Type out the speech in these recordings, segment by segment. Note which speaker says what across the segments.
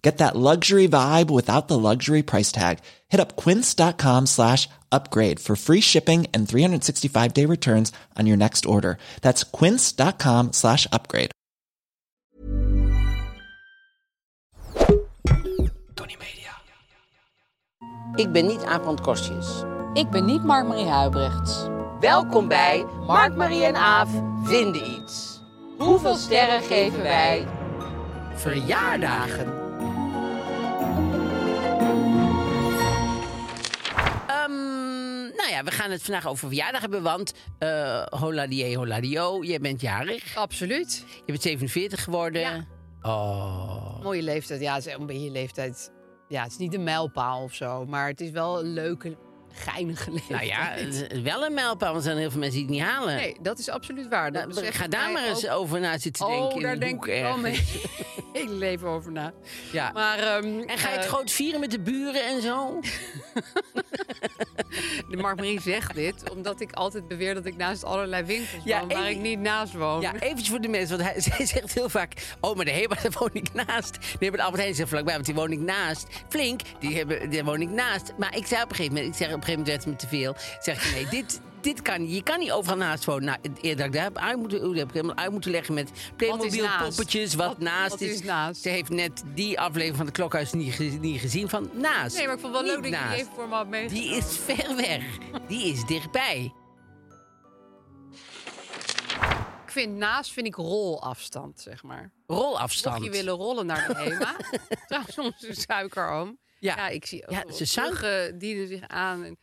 Speaker 1: Get that luxury vibe without the luxury price tag. Hit up quince.com slash upgrade for free shipping and 365-day returns on your next order. That's quince.com slash upgrade.
Speaker 2: Tony Media.
Speaker 3: Ik ben niet Aaf Kostjes.
Speaker 4: Ik ben niet Mark-Marie Huibrechts.
Speaker 3: Welkom bij Mark, Marie en Aaf vinden iets. Hoeveel sterren geven wij? Verjaardagen. Ehm, nou ja, we gaan het vandaag over verjaardag hebben, want eh holadier, holadio, jij bent jarig.
Speaker 2: Absoluut.
Speaker 3: Je bent 47 geworden. Nou
Speaker 2: Ja.
Speaker 3: Oh.
Speaker 2: Mooie leeftijd. Ja, het is- bij je leeftijd. Ja, het is niet een mijlpaal of zo. Maar het is wel een leuke, geinige
Speaker 3: Nou
Speaker 2: leeftijd.
Speaker 3: ja, het is wel een mijlpaal, want er zijn heel veel mensen die het niet halen.
Speaker 2: Nee, dat is absoluut waar. Dat
Speaker 3: Nou,
Speaker 2: besef
Speaker 3: ga
Speaker 2: ik
Speaker 3: daar
Speaker 2: mij
Speaker 3: maar eens
Speaker 2: ook.
Speaker 3: over na zitten denken.
Speaker 2: Oh,
Speaker 3: in
Speaker 2: daar
Speaker 3: een
Speaker 2: denk
Speaker 3: hoek
Speaker 2: ik wel
Speaker 3: ergens.
Speaker 2: mee. ik leef over na.
Speaker 3: Ja.
Speaker 2: Maar, ehm,
Speaker 3: En ga je het
Speaker 2: eh,
Speaker 3: groot vieren met de buren en zo?
Speaker 2: De Mark-Marie zegt dit omdat ik altijd beweer dat ik naast allerlei winkels
Speaker 3: Ja,
Speaker 2: woon... waar
Speaker 3: en-
Speaker 2: ik niet naast woon.
Speaker 3: Ja, eventjes voor de mensen, want hij, zij zegt heel vaak... Oh, maar de Heba, daar woon ik naast. Nee, maar de Albert Heijn is er vlakbij, want die woon ik naast. Flink, die hebben, daar woon ik naast. Maar ik zei op een gegeven moment, ik zeg op een gegeven moment werd het me te veel. Zeg ik, nee, dit, dit kan niet. Je kan niet overal naast wonen. Nou, het- eerder dat ik daar heb uit moeten, hoe heb ik helemaal uit moeten leggen met Playmobil
Speaker 2: naast?
Speaker 3: poppetjes, wat,
Speaker 2: Wat-
Speaker 3: naast
Speaker 2: wat is naast?
Speaker 3: Ze heeft net die aflevering van de Klokhuis niet, ge- niet gezien van naast.
Speaker 2: Nee, maar ik vond het wel leuk
Speaker 3: Niet
Speaker 2: dat je die
Speaker 3: naast.
Speaker 2: even voor me had meegenomen.
Speaker 3: Die is ver weg. Die is dichtbij.
Speaker 2: Ik vind naast vind ik rolafstand, zeg maar.
Speaker 3: Rolafstand.
Speaker 2: Mocht je willen rollen naar de HEMA. Trouwens, onze suikeroom.
Speaker 3: Ja.
Speaker 2: Ja. ik zie ook
Speaker 3: Ja,
Speaker 2: wel
Speaker 3: ze zuigen.
Speaker 2: bruggen dienen zich aan. En,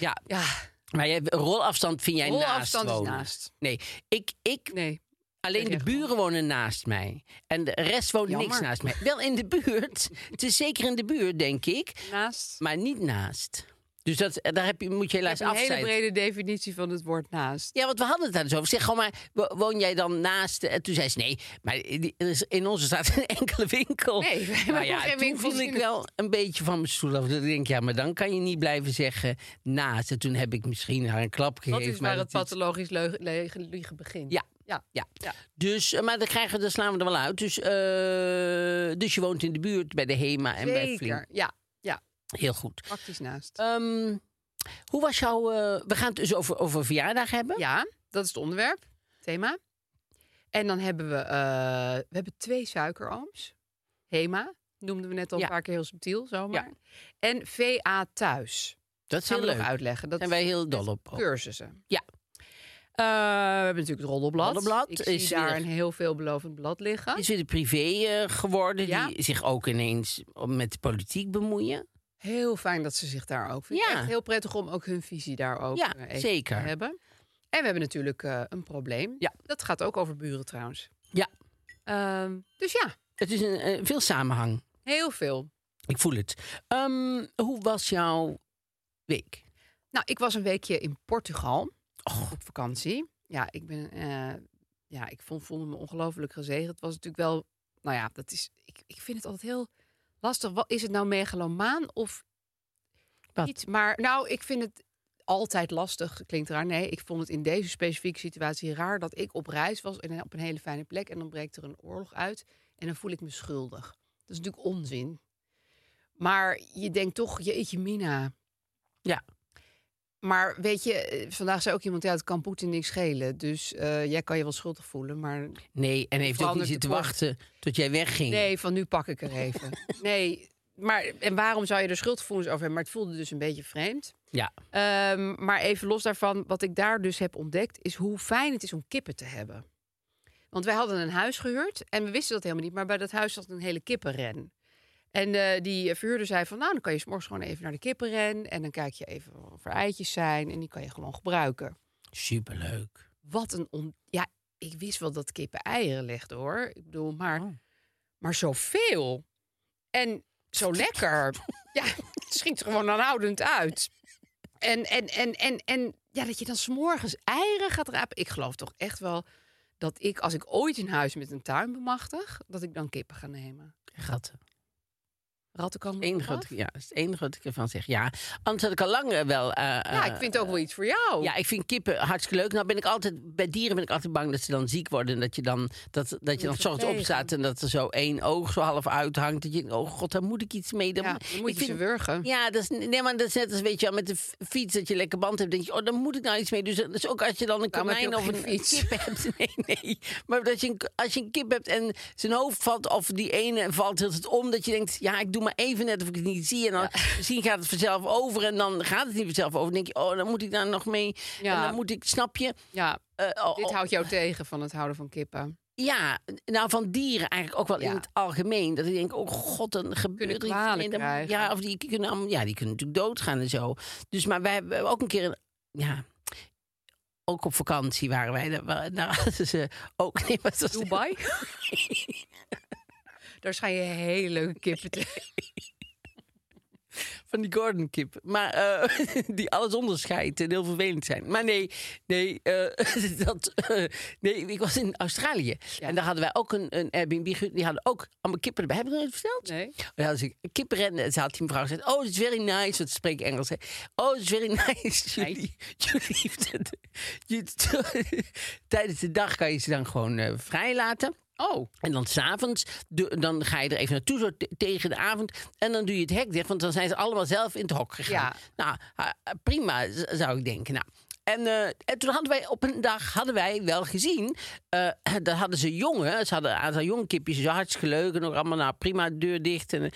Speaker 3: Ja,
Speaker 2: ja,
Speaker 3: Maar jij, rolafstand vind jij
Speaker 2: rolafstand
Speaker 3: naast
Speaker 2: is
Speaker 3: wonen?
Speaker 2: naast.
Speaker 3: Nee, ik, ik,
Speaker 2: Nee.
Speaker 3: alleen de
Speaker 2: recht.
Speaker 3: buren wonen naast mij. En de rest woont niks
Speaker 2: Jammer.
Speaker 3: naast mij. Wel in de buurt. Het is zeker in de buurt, denk ik.
Speaker 2: Naast.
Speaker 3: Maar niet naast. Dus dat, daar heb je, moet je
Speaker 2: Ik
Speaker 3: helaas
Speaker 2: heb een hele
Speaker 3: afzijden.
Speaker 2: brede definitie van het woord naast.
Speaker 3: Ja, want we hadden het daar dus over. Zeg gewoon maar, wo- woon jij dan naast... eh, Toen zei ze, nee, maar die- er is in onze staat geen enkele winkel.
Speaker 2: Nee, we hebben
Speaker 3: Nou
Speaker 2: ook geen
Speaker 3: ja, toen
Speaker 2: winkels
Speaker 3: viel ik
Speaker 2: in-
Speaker 3: wel een beetje van mijn stoel af. Dat ik denk, ja, maar dan kan je niet blijven zeggen naast. En toen heb ik misschien haar een klap
Speaker 2: Dat
Speaker 3: gegeven.
Speaker 2: is
Speaker 3: maar
Speaker 2: waar het
Speaker 3: dat is-
Speaker 2: pathologisch leugen- leugen- liegen begint.
Speaker 3: Ja.
Speaker 2: Ja.
Speaker 3: Ja.
Speaker 2: Ja.
Speaker 3: Dus, eh, maar dan, krijgen we, dan slaan we er wel uit. Dus, eh, dus je woont in de buurt bij de HEMA en bij Flink.
Speaker 2: Zeker. Ja,
Speaker 3: Heel goed.
Speaker 2: praktisch naast.
Speaker 3: Ehm, hoe was jouw... eh, we gaan het dus over, over verjaardag hebben.
Speaker 2: Ja, dat is het onderwerp, thema. En dan hebben we, eh, we hebben twee suikerooms. Hema, noemden we net al
Speaker 3: Ja.
Speaker 2: een paar keer heel subtiel, zomaar. En VA thuis.
Speaker 3: Dat is
Speaker 2: gaan
Speaker 3: heel leuk.
Speaker 2: we nog
Speaker 3: Daar
Speaker 2: uitleggen. Dat
Speaker 3: zijn wij heel dol
Speaker 2: met
Speaker 3: op. ook.
Speaker 2: Cursussen.
Speaker 3: Ja.
Speaker 2: Eh, we hebben natuurlijk het roddelblad.
Speaker 3: Roddelblad
Speaker 2: Ik zie
Speaker 3: is
Speaker 2: daar
Speaker 3: weer-
Speaker 2: een heel veelbelovend blad liggen.
Speaker 3: Is weer de privé eh, geworden.
Speaker 2: Oh. Ja.
Speaker 3: Die zich ook ineens met de politiek bemoeien.
Speaker 2: Heel fijn dat ze zich daar ook vinden.
Speaker 3: Ja.
Speaker 2: Echt heel prettig om ook hun visie daar ook
Speaker 3: Ja,
Speaker 2: eh, even
Speaker 3: zeker.
Speaker 2: te hebben. En we hebben natuurlijk eh, een probleem.
Speaker 3: Ja.
Speaker 2: Dat gaat ook over buren trouwens.
Speaker 3: Ja.
Speaker 2: Ehm, dus ja,
Speaker 3: Het is een, eh, veel samenhang.
Speaker 2: heel veel.
Speaker 3: Ik voel het. Ehm, hoe was jouw week?
Speaker 2: Nou, ik was een weekje in Portugal op vakantie. Ja, ik ben, eh, ja, ik vond, voelde me ongelooflijk gezegend. Het was natuurlijk wel, nou ja, dat is, ik, ik vind het altijd heel lastig. Wat is het nou megalomaan of
Speaker 3: Wat?
Speaker 2: niet? Maar nou, ik vind het altijd lastig. Klinkt raar. Nee, ik vond het in deze specifieke situatie raar dat ik op reis was en op een hele fijne plek en dan breekt er een oorlog uit en dan voel ik me schuldig. Dat is natuurlijk onzin. Maar je denkt toch, jeetje mina.
Speaker 3: Ja.
Speaker 2: Maar weet je, eh, vandaag zei ook iemand, ja, het kan Poetin niks schelen. Dus eh, jij kan je wel schuldig voelen, maar
Speaker 3: Nee, en heeft ook niet
Speaker 2: Veranderd
Speaker 3: zitten
Speaker 2: de port.
Speaker 3: wachten tot jij wegging.
Speaker 2: nee, van nu pak ik er even. nee, maar, en waarom zou je er schuldgevoelens over hebben? Maar het voelde dus een beetje vreemd.
Speaker 3: Ja.
Speaker 2: Ehm, maar even los daarvan, wat ik daar dus heb ontdekt, is hoe fijn het is om kippen te hebben. Want wij hadden een huis gehuurd en we wisten dat helemaal niet, maar bij dat huis zat een hele kippenren. En eh, die verhuurder zei van, nou, dan kan je 's morgens gewoon even naar de kippenren en dan kijk je even of er eitjes zijn en die kan je gewoon gebruiken.
Speaker 3: Superleuk.
Speaker 2: Wat een on... Ja, ik wist wel dat kippen eieren legden, hoor. Ik bedoel, maar,
Speaker 3: Oh.
Speaker 2: maar zoveel. En zo lekker. ja, het schiet er gewoon aanhoudend uit. En, en, en, en, en ja, dat je dan s'morgens eieren gaat rapen. Ik geloof toch echt wel dat ik, als ik ooit een huis met een tuin bemachtig... dat ik dan kippen ga nemen.
Speaker 3: Ratten.
Speaker 2: Ratten komen er
Speaker 3: Eén
Speaker 2: nog
Speaker 3: groot,
Speaker 2: af.
Speaker 3: ja, dat is het enige wat ik ervan zeg. Ja, anders had ik al lang eh, wel... eh,
Speaker 2: Ja,
Speaker 3: eh,
Speaker 2: ik vind het ook wel iets voor jou.
Speaker 3: Ja, ik vind kippen hartstikke leuk. Nou ben ik altijd, bij dieren ben ik altijd bang dat ze dan ziek worden. En dat je dan, dat, dat je dan
Speaker 2: Moet
Speaker 3: s ochtends
Speaker 2: verplegen.
Speaker 3: opstaat en dat er zo één oog zo half uithangt. Dat je denkt, oh god, daar moet ik iets mee. Dan
Speaker 2: Ja,
Speaker 3: moet-
Speaker 2: dan moet
Speaker 3: ik
Speaker 2: je ze wurgen.
Speaker 3: Ja, dat is, nee, maar dat is net als weet je wel, met de f- fiets dat je lekker band hebt. denk je, oh, daar moet ik nou iets mee. Dus, dat is ook als je dan een
Speaker 2: Daarom heb je
Speaker 3: konijn
Speaker 2: ook
Speaker 3: of een
Speaker 2: geen fiets.
Speaker 3: kip hebt. Nee, nee. Maar dat je een, als je een kip hebt en zijn hoofd valt of die ene valt heel het om. Dat je denkt, ja, ik doe maar even net of ik het niet zie. En dan misschien gaat het vanzelf over en dan gaat het niet vanzelf over. Dan denk je, oh, dan moet ik daar nog mee.
Speaker 2: Ja.
Speaker 3: En dan moet ik, snap je?
Speaker 2: Ja,
Speaker 3: Eh, oh,
Speaker 2: dit
Speaker 3: oh,
Speaker 2: houdt jou tegen van het houden van kippen.
Speaker 3: Ja, nou van dieren eigenlijk ook wel
Speaker 2: Ja.
Speaker 3: in het algemeen. Dat ik denk, oh god, dan gebeurt er iets.
Speaker 2: kwalen
Speaker 3: en dan-
Speaker 2: krijgen.
Speaker 3: Ja, of die kunnen, allemaal- ja, die kunnen natuurlijk doodgaan en zo. Dus, maar wij hebben ook een keer een... Ja, ook op vakantie waren wij. Daar, wa- daar hadden ze ook... Nee, maar het was-
Speaker 2: Dubai? Daar schijn je hele leuke kippen te
Speaker 3: van die Gordon kip. Maar eh, die alles onderscheidt en heel vervelend zijn. Maar nee, nee, eh, dat, eh, nee ik was in Australië. En daar hadden wij ook een, een Airbnb. gehuurd. Die hadden ook allemaal kippen erbij. Heb ik dat nooit verteld?
Speaker 2: Nee.
Speaker 3: Ja, als ik kippen rende, en ze had die mevrouw gezegd... Oh, it's very nice. Want ze spreekt Engels, hè. Oh, it's very nice. Jullie, jullie heeft het. Je- Tijdens de dag kan je ze dan gewoon eh, vrij laten.
Speaker 2: Oh,
Speaker 3: En dan s'avonds, dan ga je er even naartoe, zo te- tegen de avond. En dan doe je het hek dicht, want dan zijn ze allemaal zelf in het hok gegaan. Nou, ha- prima, z- zou ik denken. Nou, en, eh, en toen hadden wij op een dag, hadden wij wel gezien, eh dat hadden ze jongen, ze hadden een aantal jonge kipjes, zo hartstikke leuk. En ook allemaal, nou prima, deur dicht. En,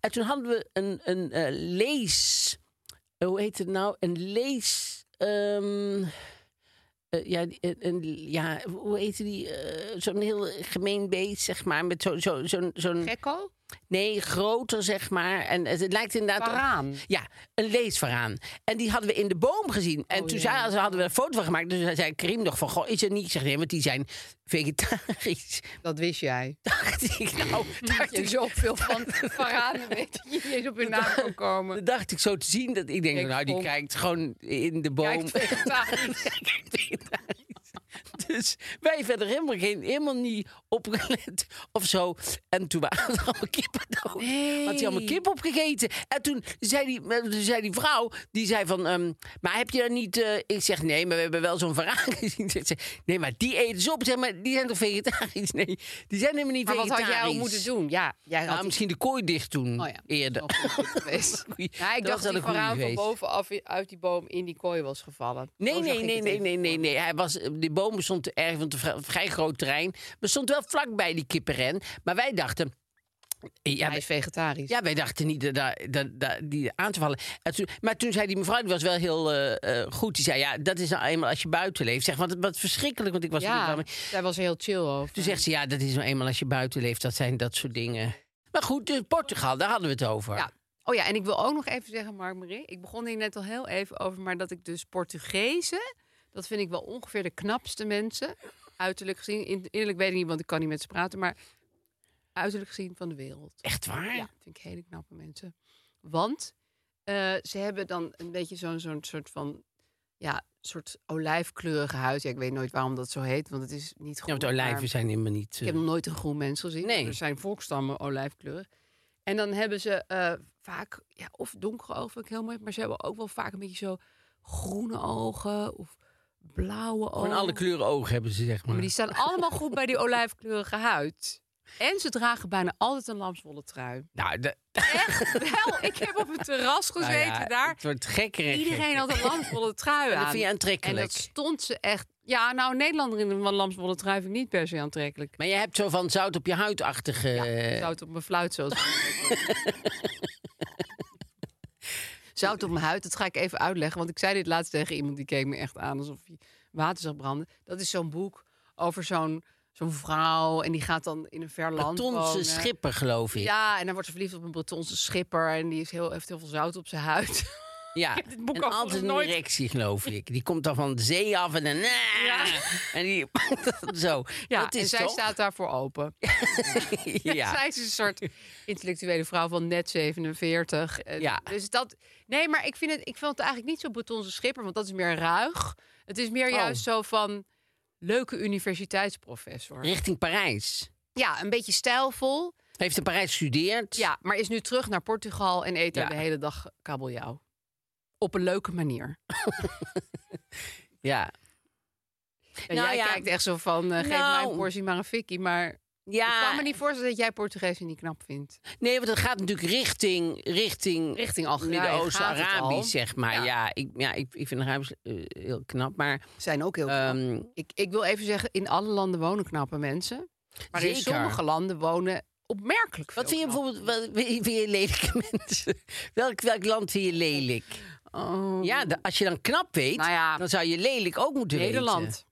Speaker 3: en toen hadden we een, een eh, lees, hoe heet het nou? Een lees... ehm, eh, ja, die- een, een- ja, hoe heette die? eh, zo'n heel gemeen beest, zeg maar. Met zo'n. Zo, zo'n zo'n
Speaker 2: gekko?
Speaker 3: nee, groter, zeg maar. En het, het lijkt inderdaad.
Speaker 2: Varaan.
Speaker 3: Ja, een leesvaraan. En die hadden we in de boom gezien. En toen zei, ze hadden we een foto van gemaakt. Dus zei Karim nog van, goh, is het niet? Ik zeg, nee, want die zijn vegetarisch.
Speaker 2: Dat wist jij.
Speaker 3: Dacht ik, nou, dacht
Speaker 2: je
Speaker 3: ik,
Speaker 2: zoveel van varanen weet dat je niet eens op hun naam kan komen.
Speaker 3: dacht ik zo te zien. Dat ik denk,
Speaker 2: Ik
Speaker 3: nou, die
Speaker 2: vond-
Speaker 3: kijkt gewoon in de boom.
Speaker 2: Kijkt vegetarisch.
Speaker 3: Ja, kijk, vegetarisch. Dus wij verder helemaal, geen, helemaal niet opgelet of zo. En toen waren er allemaal kippen dood. Had hij allemaal kip opgegeten. En toen zei die, eh, toen zei die vrouw, die zei van... ehm, maar heb je daar niet... eh, ik zeg, nee, maar we hebben wel zo'n verhaal gezien. Zegt Ze, nee, maar die eten ze op. Zeg maar, die zijn toch vegetarisch? Nee, die zijn helemaal niet
Speaker 2: Maar wat
Speaker 3: vegetarisch.
Speaker 2: had jij al moeten doen? Ja, jij
Speaker 3: Nou,
Speaker 2: had iets
Speaker 3: misschien de kooi dicht doen
Speaker 2: Oh ja,
Speaker 3: eerder.
Speaker 2: nog goed geweest.
Speaker 3: Goeie.
Speaker 2: Ja, ik
Speaker 3: Dat
Speaker 2: dacht
Speaker 3: was wel
Speaker 2: dat die
Speaker 3: een goeie
Speaker 2: varaan van
Speaker 3: geweest.
Speaker 2: bovenaf i- uit die boom in die kooi was gevallen.
Speaker 3: Nee,
Speaker 2: Oh, Zo zag
Speaker 3: nee,
Speaker 2: ik
Speaker 3: nee,
Speaker 2: het
Speaker 3: nee,
Speaker 2: even
Speaker 3: nee,
Speaker 2: voor
Speaker 3: nee,
Speaker 2: me.
Speaker 3: nee. Hij was, die boom stond erg, want het is een vrij- vrij groot terrein. We stonden wel vlakbij die kippenren. Maar wij dachten... Ja,
Speaker 2: Hij
Speaker 3: wij,
Speaker 2: is vegetarisch.
Speaker 3: ja, wij dachten niet dat, dat, dat, dat- die aan te vallen. En toen- maar toen zei die mevrouw, die was wel heel eh, eh, goed. Die zei, ja, dat is nou eenmaal als je buiten leeft. Zeg, wat, wat verschrikkelijk, want ik was... er niet
Speaker 2: Ja,
Speaker 3: van.
Speaker 2: hij was er heel chill over.
Speaker 3: Toen zegt ze, ja, dat is nou eenmaal als je buiten leeft. Dat zijn dat soort dingen. Maar goed, dus Portugal, daar hadden we het over.
Speaker 2: Ja. Oh ja, en ik wil ook nog even zeggen, Mark Marie. Ik begon hier net al heel even over, maar dat ik dus Portugezen, dat vind ik wel ongeveer de knapste mensen, uiterlijk gezien. In- Innerlijk weet ik niet, want ik kan niet met ze praten, maar uiterlijk gezien van de wereld.
Speaker 3: Echt waar?
Speaker 2: Ja, vind ik hele knappe mensen. Want eh, ze hebben dan een beetje zo'n zo'n soort van, ja, soort olijfkleurige huid. Ja, ik weet nooit waarom dat zo heet, want het is niet goed.
Speaker 3: Ja, want
Speaker 2: maar-
Speaker 3: olijven zijn helemaal niet...
Speaker 2: ik
Speaker 3: eh,
Speaker 2: heb nog nooit een groen mens gezien.
Speaker 3: Nee.
Speaker 2: Er zijn volkstammen olijfkleurig. En dan hebben ze eh, vaak, ja, of donkere ogen vind ik heel mooi, maar ze hebben ook wel vaak een beetje zo groene ogen of blauwe ogen.
Speaker 3: Gewoon alle kleuren ogen hebben ze, zeg maar.
Speaker 2: Maar die staan allemaal goed bij die olijfkleurige huid. En ze dragen bijna altijd een lamswollen trui.
Speaker 3: Nou, dat...
Speaker 2: Echt wel. Ik heb op het terras gezeten
Speaker 3: Nou ja,
Speaker 2: daar.
Speaker 3: Het wordt gekker en
Speaker 2: Iedereen
Speaker 3: gekker.
Speaker 2: had een lamswollen trui
Speaker 3: En
Speaker 2: aan.
Speaker 3: dat vind je
Speaker 2: En
Speaker 3: aantrekkelijk.
Speaker 2: dat stond ze echt. Ja, nou, een Nederlander in een lamsbolle trui vind ik niet per se aantrekkelijk.
Speaker 3: Maar je hebt zo van zout op je huidachtige... eh,
Speaker 2: Zout op mijn fluit, zoals. Zout op mijn huid, dat ga ik even uitleggen. Want ik zei dit laatst tegen iemand die keek me echt aan alsof hij water zag branden. Dat is zo'n boek over zo'n zo'n vrouw en die gaat dan in een ver land.
Speaker 3: Bretonse
Speaker 2: wonen.
Speaker 3: schipper, geloof ik.
Speaker 2: Ja, en dan wordt ze verliefd op een Bretonse schipper en die is heel, heeft heel veel zout op zijn huid.
Speaker 3: Ja,
Speaker 2: heb dit boek
Speaker 3: en
Speaker 2: al
Speaker 3: altijd een
Speaker 2: nooit-
Speaker 3: erectie, geloof ik. Die komt dan van de zee af en dan... En die... zo.
Speaker 2: Ja,
Speaker 3: dat is
Speaker 2: en zij
Speaker 3: toch?
Speaker 2: staat daarvoor open.
Speaker 3: Ja.
Speaker 2: Zij is een soort intellectuele vrouw van net 47. En
Speaker 3: Ja.
Speaker 2: Dus dat. Nee, maar ik vind het, ik vind het eigenlijk niet zo Bretonse schipper, want dat is meer ruig. Het is meer
Speaker 3: Oh.
Speaker 2: juist zo van leuke universiteitsprofessor.
Speaker 3: Richting Parijs.
Speaker 2: Ja, een beetje stijlvol.
Speaker 3: Heeft in Parijs gestudeerd.
Speaker 2: Ja, maar is nu terug naar Portugal en eet daar
Speaker 3: Ja.
Speaker 2: de hele dag kabeljauw. Op een leuke manier.
Speaker 3: Ja.
Speaker 2: En
Speaker 3: Nou
Speaker 2: jij
Speaker 3: ja.
Speaker 2: kijkt echt zo van, eh, geef mij
Speaker 3: Nou.
Speaker 2: een portie maar een fikkie. Maar ik kan me niet voorstellen dat jij Portugees niet knap vindt.
Speaker 3: Nee, want het gaat natuurlijk richting... Richting,
Speaker 2: Richting Algerije
Speaker 3: Midden-Oosten,
Speaker 2: gaat het al.
Speaker 3: Arabisch, zeg maar.
Speaker 2: Ja.
Speaker 3: Ja, ik, ja ik, ik vind Arabisch eh, heel knap. Maar
Speaker 2: Zijn ook heel
Speaker 3: ehm,
Speaker 2: Ik, ik wil even zeggen, in alle landen wonen knappe mensen. Maar in
Speaker 3: Zeker.
Speaker 2: sommige landen wonen opmerkelijk veel
Speaker 3: wat vind je
Speaker 2: knappe-
Speaker 3: bijvoorbeeld... Wat, vind je lelijke mensen? Welk, welk land vind je lelijk?
Speaker 2: Oh,
Speaker 3: Ja, de- als je dan knap weet,
Speaker 2: Nou ja.
Speaker 3: dan zou je lelijk ook moeten weten.
Speaker 2: Nederland.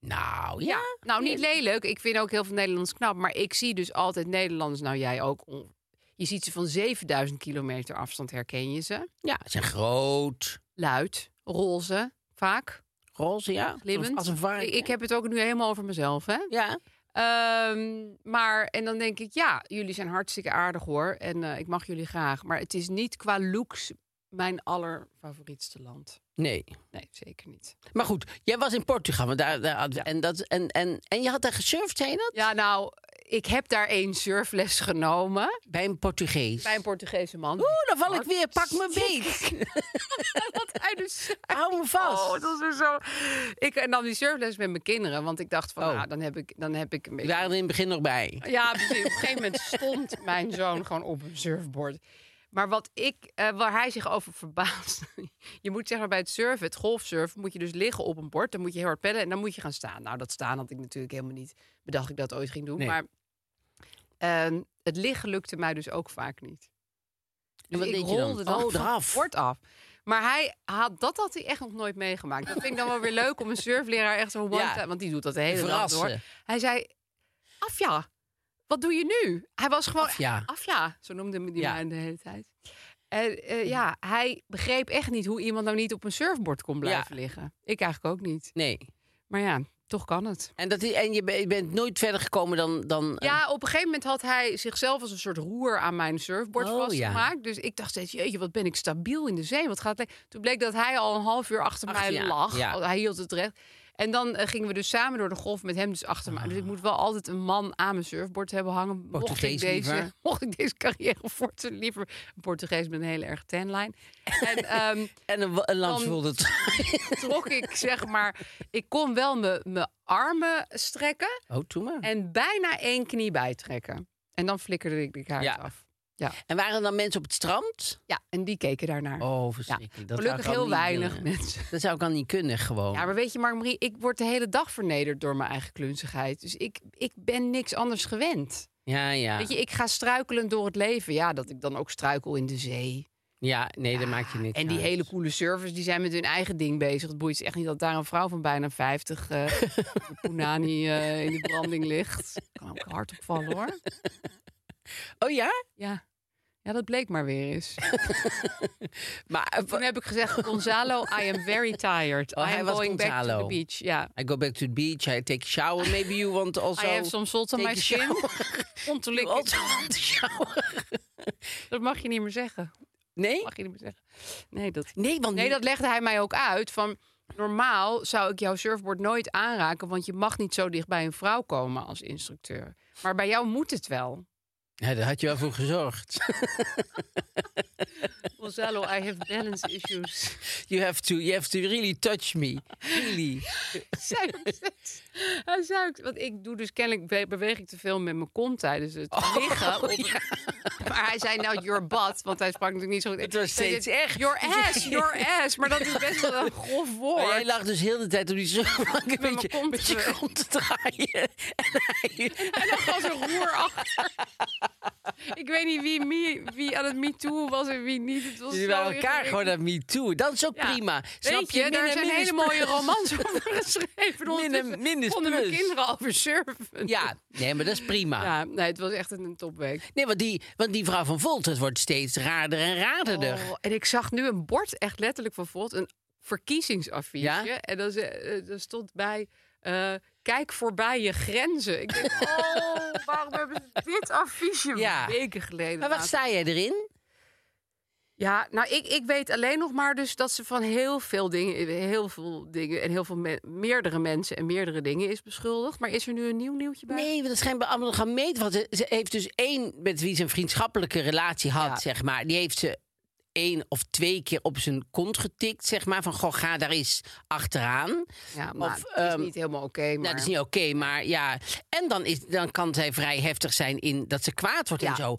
Speaker 3: Nou,
Speaker 2: Ja.
Speaker 3: ja.
Speaker 2: Nou, niet lelijk. Ik vind ook heel veel Nederlanders knap. Maar ik zie dus altijd Nederlanders, nou jij ook. on- Je ziet ze van 7000 kilometer afstand, herken je ze.
Speaker 3: Ja, ze zijn groot,
Speaker 2: Luid, roze, vaak.
Speaker 3: roze, ja.
Speaker 2: Glimmend.
Speaker 3: Als een vark.
Speaker 2: Ik, ik heb het ook nu helemaal over mezelf, hè.
Speaker 3: Ja,
Speaker 2: Ehm, maar, en dan denk ik, ja, jullie zijn hartstikke aardig hoor. En eh, ik mag jullie graag. Maar het is niet qua looks mijn allerfavorietste land.
Speaker 3: nee.
Speaker 2: Nee, zeker niet.
Speaker 3: Maar goed, jij was in Portugal. Want daar, daar, had- en, dat, en, en, en je had daar gesurfd, zei je dat?
Speaker 2: Ja, nou, ik heb daar één surfles genomen.
Speaker 3: Bij een Portugees.
Speaker 2: Bij een Portugese man.
Speaker 3: Oeh, dan val ik weer. Pak me beet.
Speaker 2: Wat uit de surf.
Speaker 3: Hou me vast.
Speaker 2: Oh, dat is weer zo. Ik nam die surfles met mijn kinderen. Want ik dacht van,
Speaker 3: Oh.
Speaker 2: nou, dan heb ik, dan heb ik een
Speaker 3: We
Speaker 2: beetje...
Speaker 3: waren er in het begin nog bij.
Speaker 2: Ja, precies. Op een gegeven moment stond mijn zoon gewoon op een surfboard. Maar wat ik, eh, waar hij zich over verbaast. Je moet zeg maar bij het surfen, het golfsurfen, moet je dus liggen op een bord. Dan moet je heel hard peddelen en dan moet je gaan staan. Nou, dat staan had ik natuurlijk helemaal niet bedacht ik dat ooit ging doen.
Speaker 3: Nee.
Speaker 2: Maar ehm, het liggen lukte mij dus ook vaak niet. Dus
Speaker 3: wat
Speaker 2: ik
Speaker 3: deed je dan?
Speaker 2: rolde dan,
Speaker 3: Oh,
Speaker 2: van
Speaker 3: eraf.
Speaker 2: het bord af. Maar hij had, dat had hij echt nog nooit meegemaakt. Dat vind ik dan wel weer leuk om een surfleraar echt zo one
Speaker 3: Ja.
Speaker 2: time- Want die doet dat de hele dag
Speaker 3: Verrassen.
Speaker 2: door. Hij zei, af ja, wat doe je nu? Hij was gewoon,
Speaker 3: Af ja.
Speaker 2: af ja, zo noemde hij
Speaker 3: Ja.
Speaker 2: mij de hele tijd. En eh, ja, hij begreep echt niet hoe iemand nou niet op een surfboard kon blijven liggen. Ik eigenlijk ook niet.
Speaker 3: Nee.
Speaker 2: Maar ja, toch kan het.
Speaker 3: En, dat, en je, ben- je bent nooit verder gekomen dan... dan eh,
Speaker 2: Ja, op een gegeven moment had hij zichzelf als een soort roer aan mijn surfboard
Speaker 3: Oh,
Speaker 2: vastgemaakt. Dus ik dacht steeds, jeetje, wat ben ik stabiel in de zee. Wat gaat het le- Toen bleek dat hij al een half uur achter
Speaker 3: Ach,
Speaker 2: mij
Speaker 3: ja,
Speaker 2: lag.
Speaker 3: ja.
Speaker 2: Hij hield het recht. En dan eh, gingen we dus samen door de golf met hem dus achter mij. Dus ik moet wel altijd een man aan mijn surfboard hebben hangen. Mocht ik,
Speaker 3: Ah. Portugees
Speaker 2: deze,
Speaker 3: liever.
Speaker 2: mocht ik deze carrière voortzetten, liever een Portugees met een hele erg tanline. En ehm,
Speaker 3: En een, wa- een lans
Speaker 2: Dan-
Speaker 3: wilde het.
Speaker 2: trok ik, zeg maar, ik kon wel mijn- mijn armen strekken.
Speaker 3: Oh, doe maar. En,
Speaker 2: En bijna één knie bijtrekken. En dan flikkerde ik de kaart
Speaker 3: Ja.
Speaker 2: af.
Speaker 3: waren er dan mensen op het strand?
Speaker 2: Ja, en die keken daarnaar.
Speaker 3: Oh,
Speaker 2: ja.
Speaker 3: verschrikkelijk. Dat zou
Speaker 2: Gelukkig
Speaker 3: ik al
Speaker 2: heel
Speaker 3: niet Oh.
Speaker 2: weinig
Speaker 3: willen.
Speaker 2: mensen.
Speaker 3: Dat zou ik al niet kunnen, gewoon.
Speaker 2: Ja, maar weet je, Mark-Marie, ik word de hele dag vernederd door mijn eigen klunzigheid. Dus ik, ik ben niks anders gewend.
Speaker 3: ja, ja.
Speaker 2: Weet je, ik ga struikelend door het leven. Ja, dat ik dan ook struikel in de zee.
Speaker 3: Ja, nee, dat maakt je niks
Speaker 2: En die
Speaker 3: uit.
Speaker 2: hele coole servers, die zijn met hun eigen ding bezig. Het boeit ze echt niet dat daar een vrouw van bijna 50 eh met punani eh, in de branding ligt. Kan ook hard opvallen, hoor.
Speaker 3: Oh ja?
Speaker 2: Ja. ja, dat bleek maar weer eens.
Speaker 3: Maar eh,
Speaker 2: Toen heb ik gezegd, Gonzalo, I am very tired.
Speaker 3: Oh,
Speaker 2: I
Speaker 3: hij
Speaker 2: am
Speaker 3: was
Speaker 2: going back to
Speaker 3: Gonzalo.
Speaker 2: the beach. Ja.
Speaker 3: I go back to the beach, I take a shower, maybe you want also...
Speaker 2: I have some salt on
Speaker 3: take
Speaker 2: my
Speaker 3: a
Speaker 2: skin. Om te likken.
Speaker 3: Also want to shower.
Speaker 2: Dat mag je niet meer zeggen.
Speaker 3: Nee?
Speaker 2: Mag je niet meer zeggen. Nee, dat...
Speaker 3: Nee, want
Speaker 2: nee, dat legde hij mij ook uit. Van, normaal zou ik jouw surfboard nooit aanraken... want je mag niet zo dicht bij een vrouw komen als instructeur. Maar bij jou moet het wel.
Speaker 3: Ja, daar had je wel voor gezorgd.
Speaker 2: Gonzalo, I have balance issues.
Speaker 3: You have to, you have to really touch me. Really.
Speaker 2: Zij ook steeds- Hij zei
Speaker 3: Oh,
Speaker 2: ook, want ik doe dus kennelijk be- beweeg ik te veel met mijn kont tijdens het liggen. Op, maar hij zei nou your butt, want hij sprak natuurlijk niet zo goed.
Speaker 3: Het was
Speaker 2: Hij zei,
Speaker 3: steeds echt.
Speaker 2: Your ass, your ass. Maar dat is best wel een grof woord.
Speaker 3: Maar jij lag dus heel de tijd op die zonbank een
Speaker 2: mijn
Speaker 3: beetje
Speaker 2: kont
Speaker 3: met je
Speaker 2: terug.
Speaker 3: kont te draaien. En hij-
Speaker 2: En dan was een roer achter. Ik weet niet wie, me- wie aan het MeToo was en wie niet. Het was
Speaker 3: Jullie
Speaker 2: zo
Speaker 3: waren elkaar
Speaker 2: ingewikkeld.
Speaker 3: gewoon naar me toe. Dat is ook
Speaker 2: Ja.
Speaker 3: prima. Snap
Speaker 2: Weet je, daar
Speaker 3: Min en
Speaker 2: zijn
Speaker 3: min is
Speaker 2: hele mooie
Speaker 3: plus.
Speaker 2: romans over geschreven.
Speaker 3: Min en
Speaker 2: Ondertussen
Speaker 3: min is
Speaker 2: konden mijn
Speaker 3: plus.
Speaker 2: kinderen over surfen.
Speaker 3: Ja, nee, maar dat is prima.
Speaker 2: Ja, nee, het was echt een topweek.
Speaker 3: Nee, want die, want die vrouw van Volt, het wordt steeds raarder en raarder.
Speaker 2: Oh, en ik zag nu een bord, echt letterlijk van Volt, een verkiezingsaffiche.
Speaker 3: Ja?
Speaker 2: En daar ze- eh, daar stond bij, eh, kijk voorbij je grenzen. Ik denk, oh, waarom hebben ze dit affiche
Speaker 3: Ja.
Speaker 2: weken geleden
Speaker 3: Maar wat
Speaker 2: laten
Speaker 3: sta jij erin?
Speaker 2: Ja, nou, ik, ik weet alleen nog maar dus dat ze van heel veel dingen, heel veel dingen en heel veel me- meerdere mensen en meerdere dingen is beschuldigd. Maar is er nu een nieuw nieuwtje bij?
Speaker 3: Nee, want dat schijnt bij allemaal gaan meten. Want ze, ze heeft dus één met wie ze een vriendschappelijke relatie had,
Speaker 2: Ja.
Speaker 3: zeg maar. Die heeft ze één of twee keer op zijn kont getikt, zeg maar. Van, goh, ga daar eens achteraan.
Speaker 2: Ja, maar
Speaker 3: Of,
Speaker 2: het
Speaker 3: ehm,
Speaker 2: is niet helemaal oké. maar...
Speaker 3: Nou, dat is niet oké, maar ja. En dan, is, dan kan zij vrij heftig zijn in dat ze kwaad wordt en
Speaker 2: Ja.
Speaker 3: zo.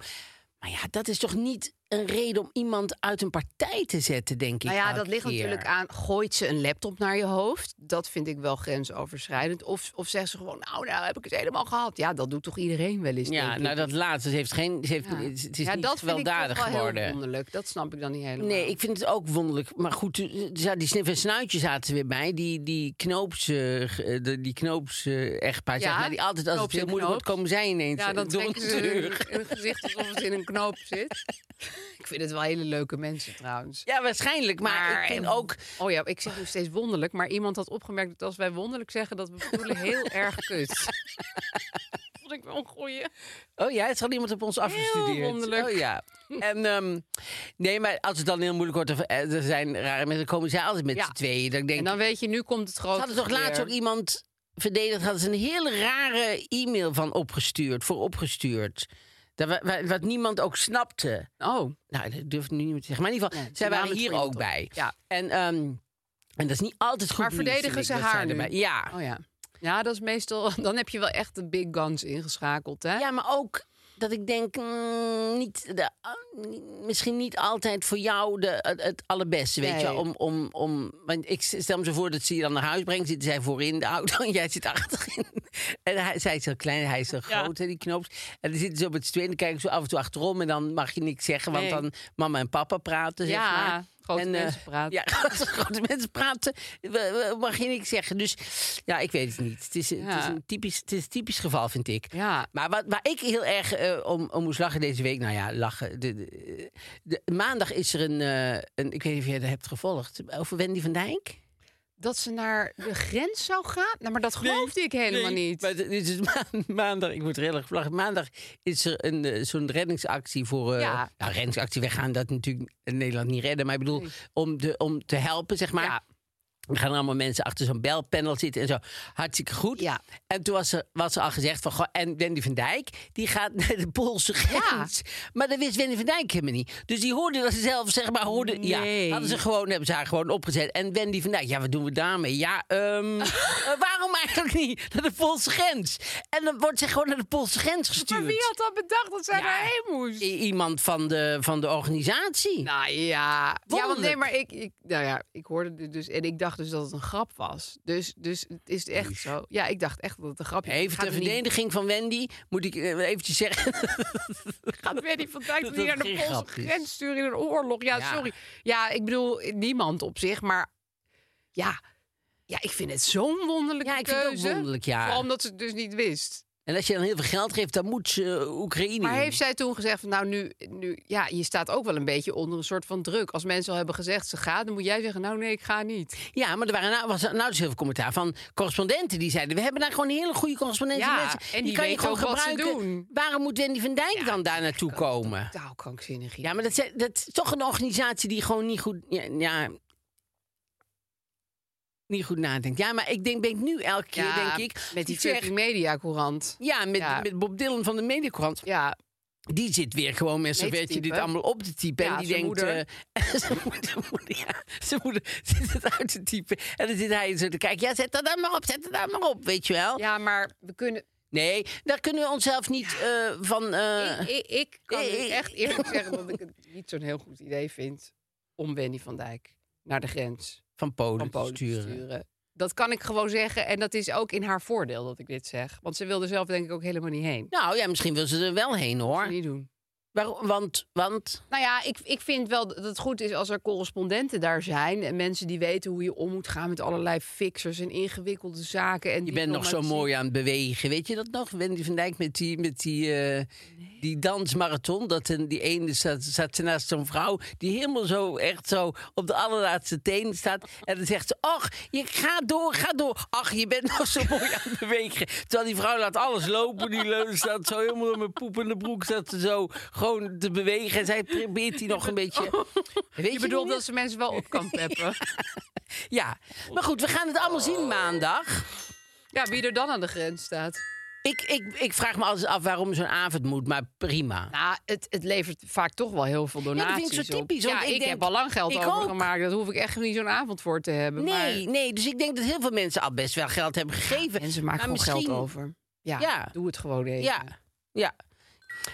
Speaker 3: Maar ja, dat is toch niet een reden om iemand uit een partij te zetten, denk ik.
Speaker 2: Nou ja,
Speaker 3: elke
Speaker 2: dat ligt
Speaker 3: keer.
Speaker 2: natuurlijk aan. Gooit ze een laptop naar je hoofd? Dat vind ik wel grensoverschrijdend. Of, of zegt ze gewoon, nou, nou heb ik het helemaal gehad. Ja, dat doet toch iedereen wel eens.
Speaker 3: Ja,
Speaker 2: denk ik.
Speaker 3: nou dat laatste. Ze heeft geen, ze heeft,
Speaker 2: Ja.
Speaker 3: Het is
Speaker 2: ja,
Speaker 3: niet
Speaker 2: dat vind ik
Speaker 3: gewelddadig
Speaker 2: toch wel heel
Speaker 3: geworden.
Speaker 2: wonderlijk. Dat snap ik dan niet helemaal.
Speaker 3: Nee, ik vind het ook wonderlijk. Maar goed, eh, ja, die snif en snuitje zaten ze weer bij. Die, die knoops, eh, ge- eh, de- die knoops eh, echtpaar, zeg
Speaker 2: Ja,
Speaker 3: maar. Die altijd als het
Speaker 2: Knoops
Speaker 3: heel
Speaker 2: en
Speaker 3: moeilijk wordt,
Speaker 2: Knoops.
Speaker 3: komen zij ineens
Speaker 2: Ja,
Speaker 3: eh,
Speaker 2: dan
Speaker 3: door een
Speaker 2: trekken ze hun,
Speaker 3: deur.
Speaker 2: hun gezicht alsof het in een knoop zit. ik vind het wel hele leuke mensen trouwens.
Speaker 3: Ja, waarschijnlijk. Maar,
Speaker 2: Maar,
Speaker 3: ik vind
Speaker 2: eh,
Speaker 3: ook...
Speaker 2: Oh ja, ik zeg nu steeds wonderlijk, maar iemand had opgemerkt dat als wij wonderlijk zeggen, dat we bedoelen heel erg kut. Vond ik wel een goeie.
Speaker 3: Oh ja, het had iemand op ons afgestudeerd.
Speaker 2: wonderlijk.
Speaker 3: Oh ja. En ehm, nee, maar als het dan heel moeilijk wordt, of eh, er zijn rare mensen, dan komen zij altijd met
Speaker 2: Ja.
Speaker 3: z'n tweeën. Dan denk ik,
Speaker 2: En dan weet je, nu komt het grote.
Speaker 3: Ze hadden toch laatst
Speaker 2: weer.
Speaker 3: ook iemand verdedigd, hadden ze een hele rare e-mail van opgestuurd, voor opgestuurd. Dat, wa- wa- wat niemand ook snapte.
Speaker 2: Oh,
Speaker 3: Nou, dat durf ik nu niet meer te zeggen. Maar in ieder geval,
Speaker 2: Nee,
Speaker 3: zij
Speaker 2: die
Speaker 3: waren
Speaker 2: namen
Speaker 3: hier
Speaker 2: springen
Speaker 3: ook
Speaker 2: toch.
Speaker 3: bij.
Speaker 2: Ja.
Speaker 3: En, ehm, en dat is niet altijd goed
Speaker 2: Maar
Speaker 3: nieuws,
Speaker 2: verdedigen
Speaker 3: vind ik,
Speaker 2: ze
Speaker 3: dat zij
Speaker 2: haar nu?
Speaker 3: erbij- Ja.
Speaker 2: oh ja. Ja, dat is meestal. Dan heb je wel echt de big guns ingeschakeld, hè?
Speaker 3: ja, maar ook dat ik denk, mm, niet de, ah, misschien niet altijd voor jou de, het, het allerbeste, weet
Speaker 2: Nee.
Speaker 3: je wel. Om, om, om, want ik stel me zo voor dat ze je dan naar huis brengt. Zitten zij voorin de auto en jij zit achterin. En hij, zij is heel klein, hij is heel groot, hè, die knoops. En dan zitten ze op het tweede en dan kijken ze af en toe achterom. En dan mag je niks zeggen, want
Speaker 2: Nee.
Speaker 3: dan mama en papa praten, zeg
Speaker 2: Ja,
Speaker 3: maar.
Speaker 2: grote
Speaker 3: eh,
Speaker 2: mensen praten.
Speaker 3: Ja, grote mensen praten. We- we- Mag je niks zeggen. Dus ja, ik weet het niet. Het is, het is
Speaker 2: Ja.
Speaker 3: een typisch, het is een typisch geval, vind ik.
Speaker 2: Ja.
Speaker 3: Maar wat, waar ik heel erg eh, om, om moest lachen deze week, nou ja, lachen. De, de- de- maandag is er een, eh, een, ik weet niet of jij dat hebt gevolgd, over Wendy van Dijk.
Speaker 2: Dat ze naar de grens zou gaan? Nou, maar dat geloofde ik helemaal
Speaker 3: Nee,
Speaker 2: niet.
Speaker 3: Maar dit is dus maan- maandag, ik moet er heel erg op lachen. Maandag is er een, eh, zo'n reddingsactie voor. eh
Speaker 2: Ja.
Speaker 3: Nou, reddingsactie, wij gaan dat natuurlijk in Nederland niet redden. Maar ik bedoel, om, de, om te helpen, zeg maar.
Speaker 2: Ja.
Speaker 3: Er gaan allemaal mensen achter zo'n belpanel zitten en zo. Hartstikke goed.
Speaker 2: Ja.
Speaker 3: En toen was er, was er al gezegd van... Goh, en Wendy van Dijk, die gaat naar de Poolse grens. Maar dat wist Wendy van Dijk helemaal niet. Dus die hoorde dat ze zelf, zeg maar, hoorde...
Speaker 2: Nee.
Speaker 3: Ja, hadden ze gewoon, hebben ze haar gewoon opgezet. En Wendy van Dijk, ja, wat doen we daarmee? Ja, ehm, eh, waarom eigenlijk niet naar de Poolse grens? En dan wordt ze gewoon naar de Poolse grens gestuurd.
Speaker 2: Maar wie had dat bedacht dat zij
Speaker 3: Ja.
Speaker 2: daarheen moest?
Speaker 3: I- Iemand van de, van de organisatie.
Speaker 2: Nou ja. Ja, want nee,
Speaker 3: Wonderlijk.
Speaker 2: maar ik, ik, nou ja, ik hoorde dit dus en ik dacht dus dat het een grap was. Dus, dus het is echt zo. Ja, ik dacht echt dat het een grapje
Speaker 3: Even
Speaker 2: Gaat
Speaker 3: ter
Speaker 2: er niet-
Speaker 3: verdediging van Wendy moet ik even eventjes zeggen...
Speaker 2: Gaat Wendy van Dijk
Speaker 3: dat
Speaker 2: niet naar
Speaker 3: het
Speaker 2: de
Speaker 3: geen
Speaker 2: Poolse
Speaker 3: grap is.
Speaker 2: grens sturen in een oorlog? Ja,
Speaker 3: Ja.
Speaker 2: sorry. Ja, ik bedoel, niemand op zich, maar ja. Ja, ik vind het zo'n wonderlijke
Speaker 3: Ja, ik vind het ook
Speaker 2: keuze.
Speaker 3: wonderlijk, ja.
Speaker 2: Vooral omdat ze het dus niet wist.
Speaker 3: En als je dan heel veel geld geeft, dan moet ze eh, Oekraïne.
Speaker 2: Maar
Speaker 3: in.
Speaker 2: heeft zij toen gezegd van nou nu, nu, ja, je staat ook wel een beetje onder een soort van druk. Als mensen al hebben gezegd ze gaat, dan moet jij zeggen nou nee, ik ga niet.
Speaker 3: Ja, maar er waren nou, was er nou dus heel veel commentaar van correspondenten die zeiden: We hebben daar gewoon een hele goede correspondenten.
Speaker 2: Ja,
Speaker 3: mensen.
Speaker 2: en die
Speaker 3: kan je
Speaker 2: weten
Speaker 3: gewoon
Speaker 2: ook wat ze
Speaker 3: gebruiken.
Speaker 2: doen.
Speaker 3: Waarom moet Wendy van Dijk dan daar naartoe komen?
Speaker 2: Nou, krankzinnig.
Speaker 3: Ja, maar dat, zijn- dat is toch een organisatie die gewoon niet goed. Ja, ja, niet goed nadenkt. Ja, maar ik denk, ben ik nu elke keer, denk ik.
Speaker 2: Met die
Speaker 3: ik zeg-
Speaker 2: fucking media courant.
Speaker 3: Ja met,
Speaker 2: Ja.
Speaker 3: met Bob Dylan van de Mediacorant.
Speaker 2: Ja,
Speaker 3: Die zit weer gewoon met zo'n
Speaker 2: Mee te
Speaker 3: beetje dit
Speaker 2: typen.
Speaker 3: allemaal op te typen.
Speaker 2: Ja,
Speaker 3: en die
Speaker 2: zijn
Speaker 3: denkt.
Speaker 2: moeder.
Speaker 3: eh, zijn moeder, zijn moeder, ja, zijn moeder zit het uit te typen. En dan zit hij zo te kijken. Ja, zet dat dan maar op, zet dat dan maar op, weet je wel.
Speaker 2: ja, maar we kunnen.
Speaker 3: Nee, daar kunnen we onszelf niet eh, van... eh,
Speaker 2: ik, ik, ik kan
Speaker 3: eh,
Speaker 2: nu
Speaker 3: eh,
Speaker 2: echt eerlijk zeggen dat ik het niet zo'n heel goed idee vind om Wendy van Dijk naar de grens
Speaker 3: van Polen,
Speaker 2: van Polen
Speaker 3: te sturen.
Speaker 2: te sturen. Dat kan ik gewoon zeggen. En dat is ook in haar voordeel dat ik dit zeg. Want ze wilde zelf denk ik ook helemaal niet heen.
Speaker 3: Nou ja, misschien wil ze er wel heen,
Speaker 2: Dat
Speaker 3: hoor.
Speaker 2: moet je niet doen.
Speaker 3: Waarom? Want, want...
Speaker 2: Nou ja, ik, ik vind wel dat het goed is als er correspondenten daar zijn. En mensen die weten hoe je om moet gaan met allerlei fixers en ingewikkelde zaken. En
Speaker 3: Je bent nog zo
Speaker 2: diplomatie.
Speaker 3: mooi aan het bewegen. Weet je dat nog? Wendy van Dijk met die, met die, eh, die dansmarathon. Dat een, die ene zat, zat ze naast zo'n vrouw. Die helemaal zo echt zo op de allerlaatste teen staat. En dan zegt ze: Och, je gaat door, ga door. Ach, je bent nog zo mooi aan het bewegen. Terwijl die vrouw laat alles lopen. Die leunen staat zo helemaal in mijn poepende broek. Zat ze zo gewoon te bewegen. En zij probeert die nog een beetje. Weet
Speaker 2: Oh. Je
Speaker 3: die
Speaker 2: bedoelt
Speaker 3: niet?
Speaker 2: dat ze mensen wel op kan peppen.
Speaker 3: Ja, maar goed, we gaan het allemaal zien maandag.
Speaker 2: ja, wie er dan aan de grens staat.
Speaker 3: Ik, ik, ik vraag me altijd af waarom zo'n avond moet, maar prima.
Speaker 2: Nou, het, het levert vaak toch wel heel veel
Speaker 3: dat
Speaker 2: donaties
Speaker 3: vind ik zo
Speaker 2: op.
Speaker 3: typisch, want
Speaker 2: Ja,
Speaker 3: ik
Speaker 2: ik,
Speaker 3: denk-
Speaker 2: heb al lang geld
Speaker 3: ik
Speaker 2: overgemaakt. Dat hoef ik echt niet zo'n avond voor te hebben.
Speaker 3: Nee,
Speaker 2: maar
Speaker 3: nee, dus ik denk dat heel veel mensen al best wel geld hebben gegeven.
Speaker 2: mensen maken
Speaker 3: Maar Nou,
Speaker 2: gewoon
Speaker 3: misschien-
Speaker 2: geld over. Ja,
Speaker 3: Ja.
Speaker 2: doe het gewoon even.
Speaker 3: Ja, ja.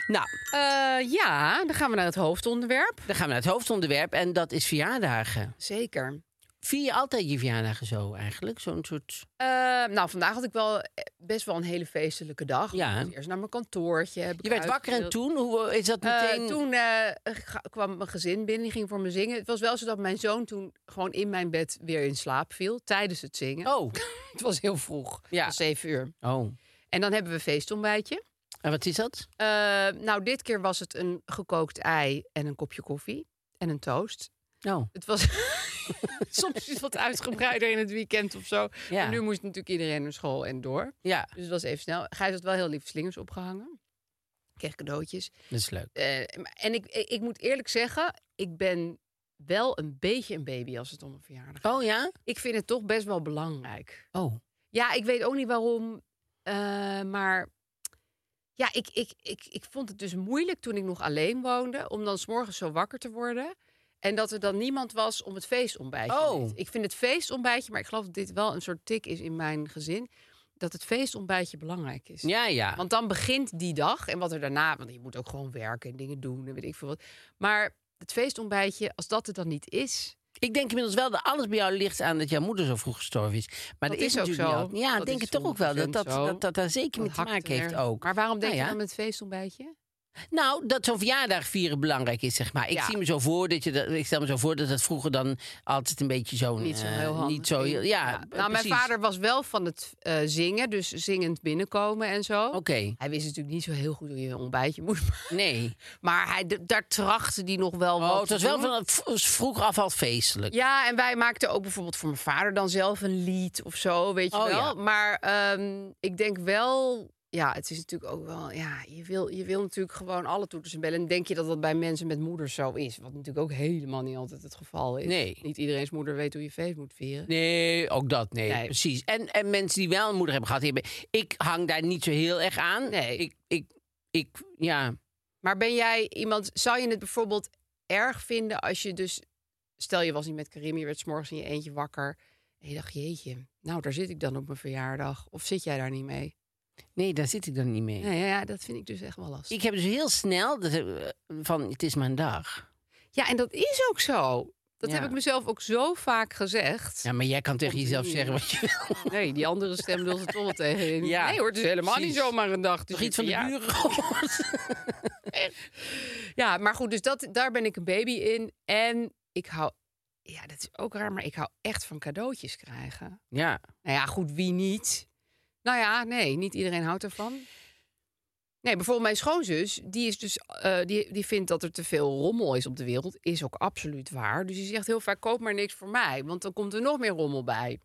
Speaker 3: Nou,
Speaker 2: Eh, ja, dan gaan we naar het hoofdonderwerp.
Speaker 3: dan gaan we naar het hoofdonderwerp en dat is verjaardagen.
Speaker 2: Zeker.
Speaker 3: Vier je altijd je verjaardagen zo eigenlijk? Zo'n soort...
Speaker 2: Eh, nou, vandaag had ik wel eh, best wel een hele feestelijke dag.
Speaker 3: Ja.
Speaker 2: Ik moest Eerst naar mijn kantoortje. heb ik
Speaker 3: Je werd wakker en
Speaker 2: uitgedeeld.
Speaker 3: toen, hoe is dat
Speaker 2: Eh,
Speaker 3: meteen...
Speaker 2: toen eh, ga- kwam mijn gezin binnen, die ging voor me zingen. Het was wel zo dat mijn zoon toen gewoon in mijn bed weer in slaap viel tijdens het zingen.
Speaker 3: Oh,
Speaker 2: Het was heel vroeg,
Speaker 3: Ja.
Speaker 2: ja. zeven uur.
Speaker 3: oh.
Speaker 2: En dan hebben we feestontbijtje.
Speaker 3: En wat is dat?
Speaker 2: Eh, nou, dit keer was het een gekookt ei en een kopje koffie en een toast.
Speaker 3: Nou,
Speaker 2: Het was soms is het wat uitgebreider in het weekend of zo.
Speaker 3: Ja.
Speaker 2: Maar nu moest natuurlijk iedereen naar school en door.
Speaker 3: ja,
Speaker 2: Dus het was even snel. Gijs had wel heel lief slingers opgehangen. Ik kreeg cadeautjes.
Speaker 3: dat is leuk.
Speaker 2: Eh, maar- en ik, ik, ik moet eerlijk zeggen, ik ben wel een beetje een baby als het om een verjaardag gaat.
Speaker 3: Oh ja?
Speaker 2: Ik vind het toch best wel belangrijk.
Speaker 3: Oh.
Speaker 2: Ja, ik weet ook niet waarom. eh, maar ja, ik, ik, ik, ik vond het dus moeilijk toen ik nog alleen woonde. om dan 's morgens zo wakker te worden. En dat er dan niemand was om het feestontbijtje.
Speaker 3: Oh.
Speaker 2: niet. Ik vind het feestontbijtje, maar ik geloof dat dit wel een soort tik is in mijn gezin. dat het feestontbijtje belangrijk is.
Speaker 3: Ja, ja.
Speaker 2: Want dan begint die dag. En wat er daarna. Want je moet ook gewoon werken en dingen doen en weet ik veel wat. Maar het feestontbijtje, als dat er dan niet is.
Speaker 3: Ik denk inmiddels wel dat alles bij jou ligt aan dat jouw moeder zo vroeg gestorven is. Maar
Speaker 2: Dat
Speaker 3: er is,
Speaker 2: is ook
Speaker 3: natuurlijk
Speaker 2: zo.
Speaker 3: niet al- Ja,
Speaker 2: Dat
Speaker 3: denk
Speaker 2: is
Speaker 3: ik toch ook wel. Dat dat,
Speaker 2: 100% zo.
Speaker 3: dat, dat daar zeker mee
Speaker 2: dat
Speaker 3: te
Speaker 2: hakt
Speaker 3: maken heeft
Speaker 2: er-
Speaker 3: ook.
Speaker 2: Maar waarom denk
Speaker 3: Nou
Speaker 2: je
Speaker 3: ja.
Speaker 2: dan met het feestontbijtje?
Speaker 3: Nou, dat zo'n verjaardag vieren belangrijk is, zeg maar. Ik
Speaker 2: Ja.
Speaker 3: zie me zo voor dat je dat, ik stel me zo voor dat dat vroeger dan altijd een beetje zo'n
Speaker 2: Niet zo
Speaker 3: eh,
Speaker 2: heel handig.
Speaker 3: niet zo heel- ja, eh,
Speaker 2: Nou, mijn
Speaker 3: precies.
Speaker 2: vader was wel van het eh, zingen, dus zingend binnenkomen en zo.
Speaker 3: Oké,
Speaker 2: Hij wist natuurlijk niet zo heel goed hoe je een ontbijtje moest maken.
Speaker 3: nee.
Speaker 2: Maar hij, d- daar trachtte hij nog wel wat
Speaker 3: Oh, het
Speaker 2: te
Speaker 3: was wel
Speaker 2: doen.
Speaker 3: van v- vroeg af al feestelijk.
Speaker 2: Ja, en wij maakten ook bijvoorbeeld voor mijn vader dan zelf een lied of zo, weet je
Speaker 3: Oh,
Speaker 2: wel.
Speaker 3: ja.
Speaker 2: Maar ehm, ik denk wel... Ja, het is natuurlijk ook wel... Ja, je wil, je wil natuurlijk gewoon alle toeters en bellen. En denk je dat dat bij mensen met moeders zo is? Wat natuurlijk ook helemaal niet altijd het geval is.
Speaker 3: Nee.
Speaker 2: Niet iedereen's moeder weet hoe je feest moet vieren.
Speaker 3: Nee, ook dat, nee,
Speaker 2: Nee.
Speaker 3: precies. En, en mensen die wel een moeder hebben gehad, die hebben- ik hang daar niet zo heel erg aan.
Speaker 2: Nee.
Speaker 3: Ik, ik, ik, ja,
Speaker 2: Maar ben jij iemand, zou je het bijvoorbeeld erg vinden als je dus, stel je was niet met Karim, je werd 's morgens in je eentje wakker en je dacht, jeetje, nou daar zit ik dan op mijn verjaardag. Of zit jij daar niet mee?
Speaker 3: nee, daar zit ik dan niet mee.
Speaker 2: Ja, ja, ja, dat vind ik dus echt wel lastig.
Speaker 3: Ik heb dus heel snel dat, eh, van, het is mijn dag.
Speaker 2: Ja, en dat is ook zo. Dat
Speaker 3: Ja.
Speaker 2: heb ik mezelf ook zo vaak gezegd.
Speaker 3: Ja, maar jij kan tegen
Speaker 2: Komt
Speaker 3: jezelf
Speaker 2: ie.
Speaker 3: zeggen wat je wil.
Speaker 2: Nee, die andere stem wil ze toch wel tegen. je in.
Speaker 3: Ja,
Speaker 2: nee hoor, het is helemaal niet
Speaker 3: precies.
Speaker 2: zomaar een dag. Het is
Speaker 3: Nog iets
Speaker 2: je
Speaker 3: van de
Speaker 2: verjaardag.
Speaker 3: buren gehoord?
Speaker 2: Ja, maar goed, dus dat, daar ben ik een baby in. En ik hou, ja, dat is ook raar, maar ik hou echt van cadeautjes krijgen.
Speaker 3: Ja.
Speaker 2: Nou ja, goed, wie niet? Nou ja, nee, niet iedereen houdt ervan. Nee, bijvoorbeeld mijn schoonzus, die, is dus, eh, die, die vindt dat er te veel rommel is op de wereld. Is ook absoluut waar. Dus die zegt heel vaak, koop maar niks voor mij, want dan komt er nog meer rommel bij.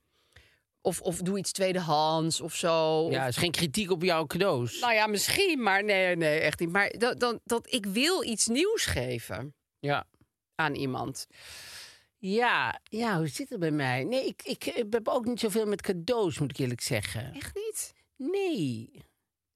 Speaker 2: Of, of doe iets tweedehands of zo.
Speaker 3: ja,
Speaker 2: Of-
Speaker 3: is geen kritiek op jouw cadeaus.
Speaker 2: nou ja, misschien, maar nee, nee, echt niet. Maar dat, dat, dat ik wil iets nieuws geven
Speaker 3: Ja.
Speaker 2: aan iemand.
Speaker 3: Ja, ja, hoe zit het bij mij? Nee, ik, ik, eh, heb ook niet zoveel met cadeaus, moet ik eerlijk zeggen.
Speaker 2: Echt niet?
Speaker 3: Nee.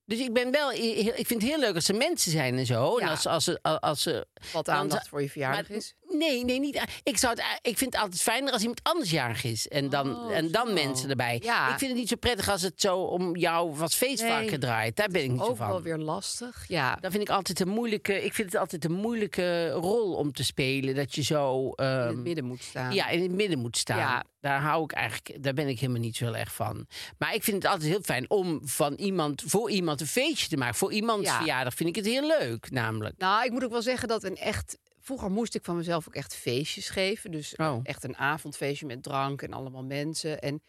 Speaker 3: Dus ik ben wel, i- heel- ik vind het heel leuk als er mensen zijn en zo. En
Speaker 2: Ja.
Speaker 3: als, als, ze- als, ze
Speaker 2: Wat
Speaker 3: Want-
Speaker 2: aandacht voor je verjaardag
Speaker 3: Maar-
Speaker 2: is.
Speaker 3: Nee, nee, niet. Ik, zou het, ik vind het altijd fijner als iemand anders jarig is. En dan, en dan mensen erbij.
Speaker 2: Oh, Ja.
Speaker 3: Ik vind het niet zo prettig als het zo om jou wat feestvarken
Speaker 2: Nee.
Speaker 3: draait. Daar ben ik niet zo
Speaker 2: Ook
Speaker 3: van.
Speaker 2: wel weer lastig. Ja.
Speaker 3: Dat vind ik altijd een moeilijke. Ik vind het altijd een moeilijke rol om te spelen. Dat je zo.
Speaker 2: in
Speaker 3: ehm,
Speaker 2: het midden moet staan.
Speaker 3: ja, in het midden moet staan.
Speaker 2: Ja.
Speaker 3: Daar hou ik eigenlijk, daar ben ik helemaal niet zo heel erg van. Maar ik vind het altijd heel fijn om van iemand voor iemand een feestje te maken. Voor iemands
Speaker 2: Ja.
Speaker 3: verjaardag vind ik het heel leuk, namelijk.
Speaker 2: Nou, ik moet ook wel zeggen dat een echt. Vroeger moest ik van mezelf ook echt feestjes geven. Dus
Speaker 3: Oh.
Speaker 2: echt een avondfeestje met drank en allemaal mensen. En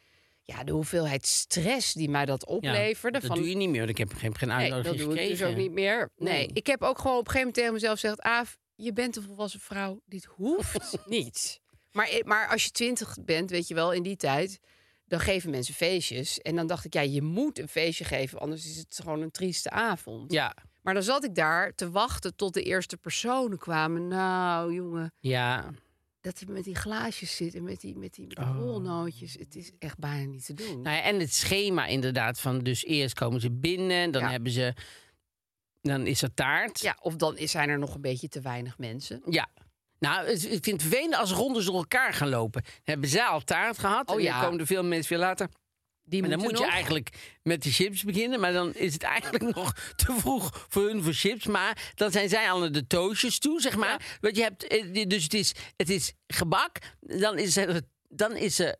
Speaker 2: ja, de hoeveelheid stress die mij dat
Speaker 3: Ja,
Speaker 2: opleverde.
Speaker 3: dat
Speaker 2: van,
Speaker 3: doe je niet meer. want Ik heb geen, geen
Speaker 2: nee,
Speaker 3: uitnodiging
Speaker 2: dat doe ik
Speaker 3: gekregen.
Speaker 2: dus ook niet meer. Nee.
Speaker 3: Nee.
Speaker 2: ik heb ook gewoon op een gegeven moment tegen mezelf gezegd... Aaf, je bent een volwassen vrouw. Dit hoeft niet. Maar, maar als je twintig bent, weet je wel, in die tijd... dan geven mensen feestjes. En dan dacht ik, ja, je moet een feestje geven... anders is het gewoon een trieste avond.
Speaker 3: Ja,
Speaker 2: Maar dan zat ik daar te wachten tot de eerste personen kwamen. Nou, jongen,
Speaker 3: ja.
Speaker 2: dat hij met die glaasjes zit en met die, met die, met die rolnootjes. Het is echt bijna niet te doen.
Speaker 3: Oh. Nou ja, en het schema inderdaad van dus eerst komen ze binnen, dan
Speaker 2: Ja.
Speaker 3: hebben ze, dan is er taart.
Speaker 2: Ja, of dan is- zijn er nog een beetje te weinig mensen.
Speaker 3: Ja. Nou, het- ik vind het vervelend als rondes door elkaar gaan lopen. Dan hebben zij al taart gehad
Speaker 2: Oh
Speaker 3: en
Speaker 2: ja.
Speaker 3: dan komen er veel mensen weer later.
Speaker 2: Die
Speaker 3: en dan
Speaker 2: moeten
Speaker 3: moet je
Speaker 2: nog.
Speaker 3: eigenlijk met de chips beginnen. Maar dan is het eigenlijk nog te vroeg voor hun voor chips. Maar dan zijn zij al naar de toosjes toe, zeg maar. Want je hebt, eh, dus het is, het is gebak, dan is er... Dan is er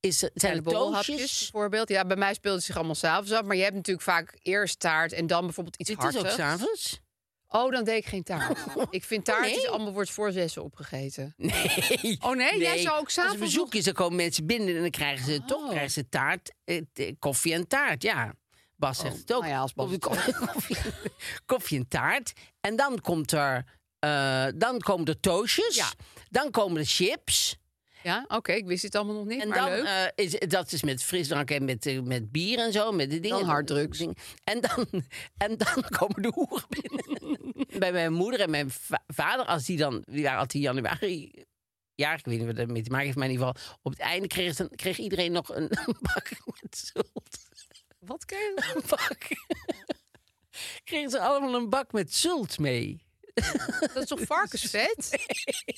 Speaker 3: is er, zijn
Speaker 2: En
Speaker 3: er
Speaker 2: de borrelhapjes
Speaker 3: toosjes.
Speaker 2: bijvoorbeeld. Ja, bij mij speelt het zich allemaal s'avonds af. Maar je hebt natuurlijk vaak eerst taart en dan bijvoorbeeld iets
Speaker 3: Dit is ook
Speaker 2: hartigs.
Speaker 3: s'avonds. Oh,
Speaker 2: Oh, dan deed ik geen taart. ik vind taart
Speaker 3: nee?
Speaker 2: is allemaal wordt voor zessen opgegeten.
Speaker 3: Nee.
Speaker 2: Oh, nee? Jij zou ook
Speaker 3: Als
Speaker 2: s'avonds Oh.
Speaker 3: er bezoek
Speaker 2: nog-
Speaker 3: is, dan komen mensen binnen en dan krijgen ze toch krijgen ze taart, eh, t- koffie en taart, ja. Bas zegt het ook.
Speaker 2: nou ja, als Bas
Speaker 3: Of de
Speaker 2: het
Speaker 3: koffie, koffie, koffie en taart. En dan komt er, eh, dan komen er toosjes.
Speaker 2: Ja.
Speaker 3: Dan komen de chips.
Speaker 2: Ja, oké, ik wist dit allemaal nog niet,
Speaker 3: En
Speaker 2: maar
Speaker 3: dan
Speaker 2: leuk.
Speaker 3: eh, is dat is met frisdrank en met, eh, met bier en zo, met de dingen.
Speaker 2: Dan harddrugs.
Speaker 3: Dingen. En dan, en dan komen de hoeren binnen. Bij mijn moeder en mijn va- vader, als die dan, die waren altijd in januari. Ja, ik weet niet wat dat mee te maken heeft, maar in ieder geval op het einde kreeg, ze- kreeg iedereen nog een bak met zult.
Speaker 2: Wat kan je?
Speaker 3: Een bak. Kregen ze allemaal een bak met zult mee?
Speaker 2: Dat is toch varkensvet?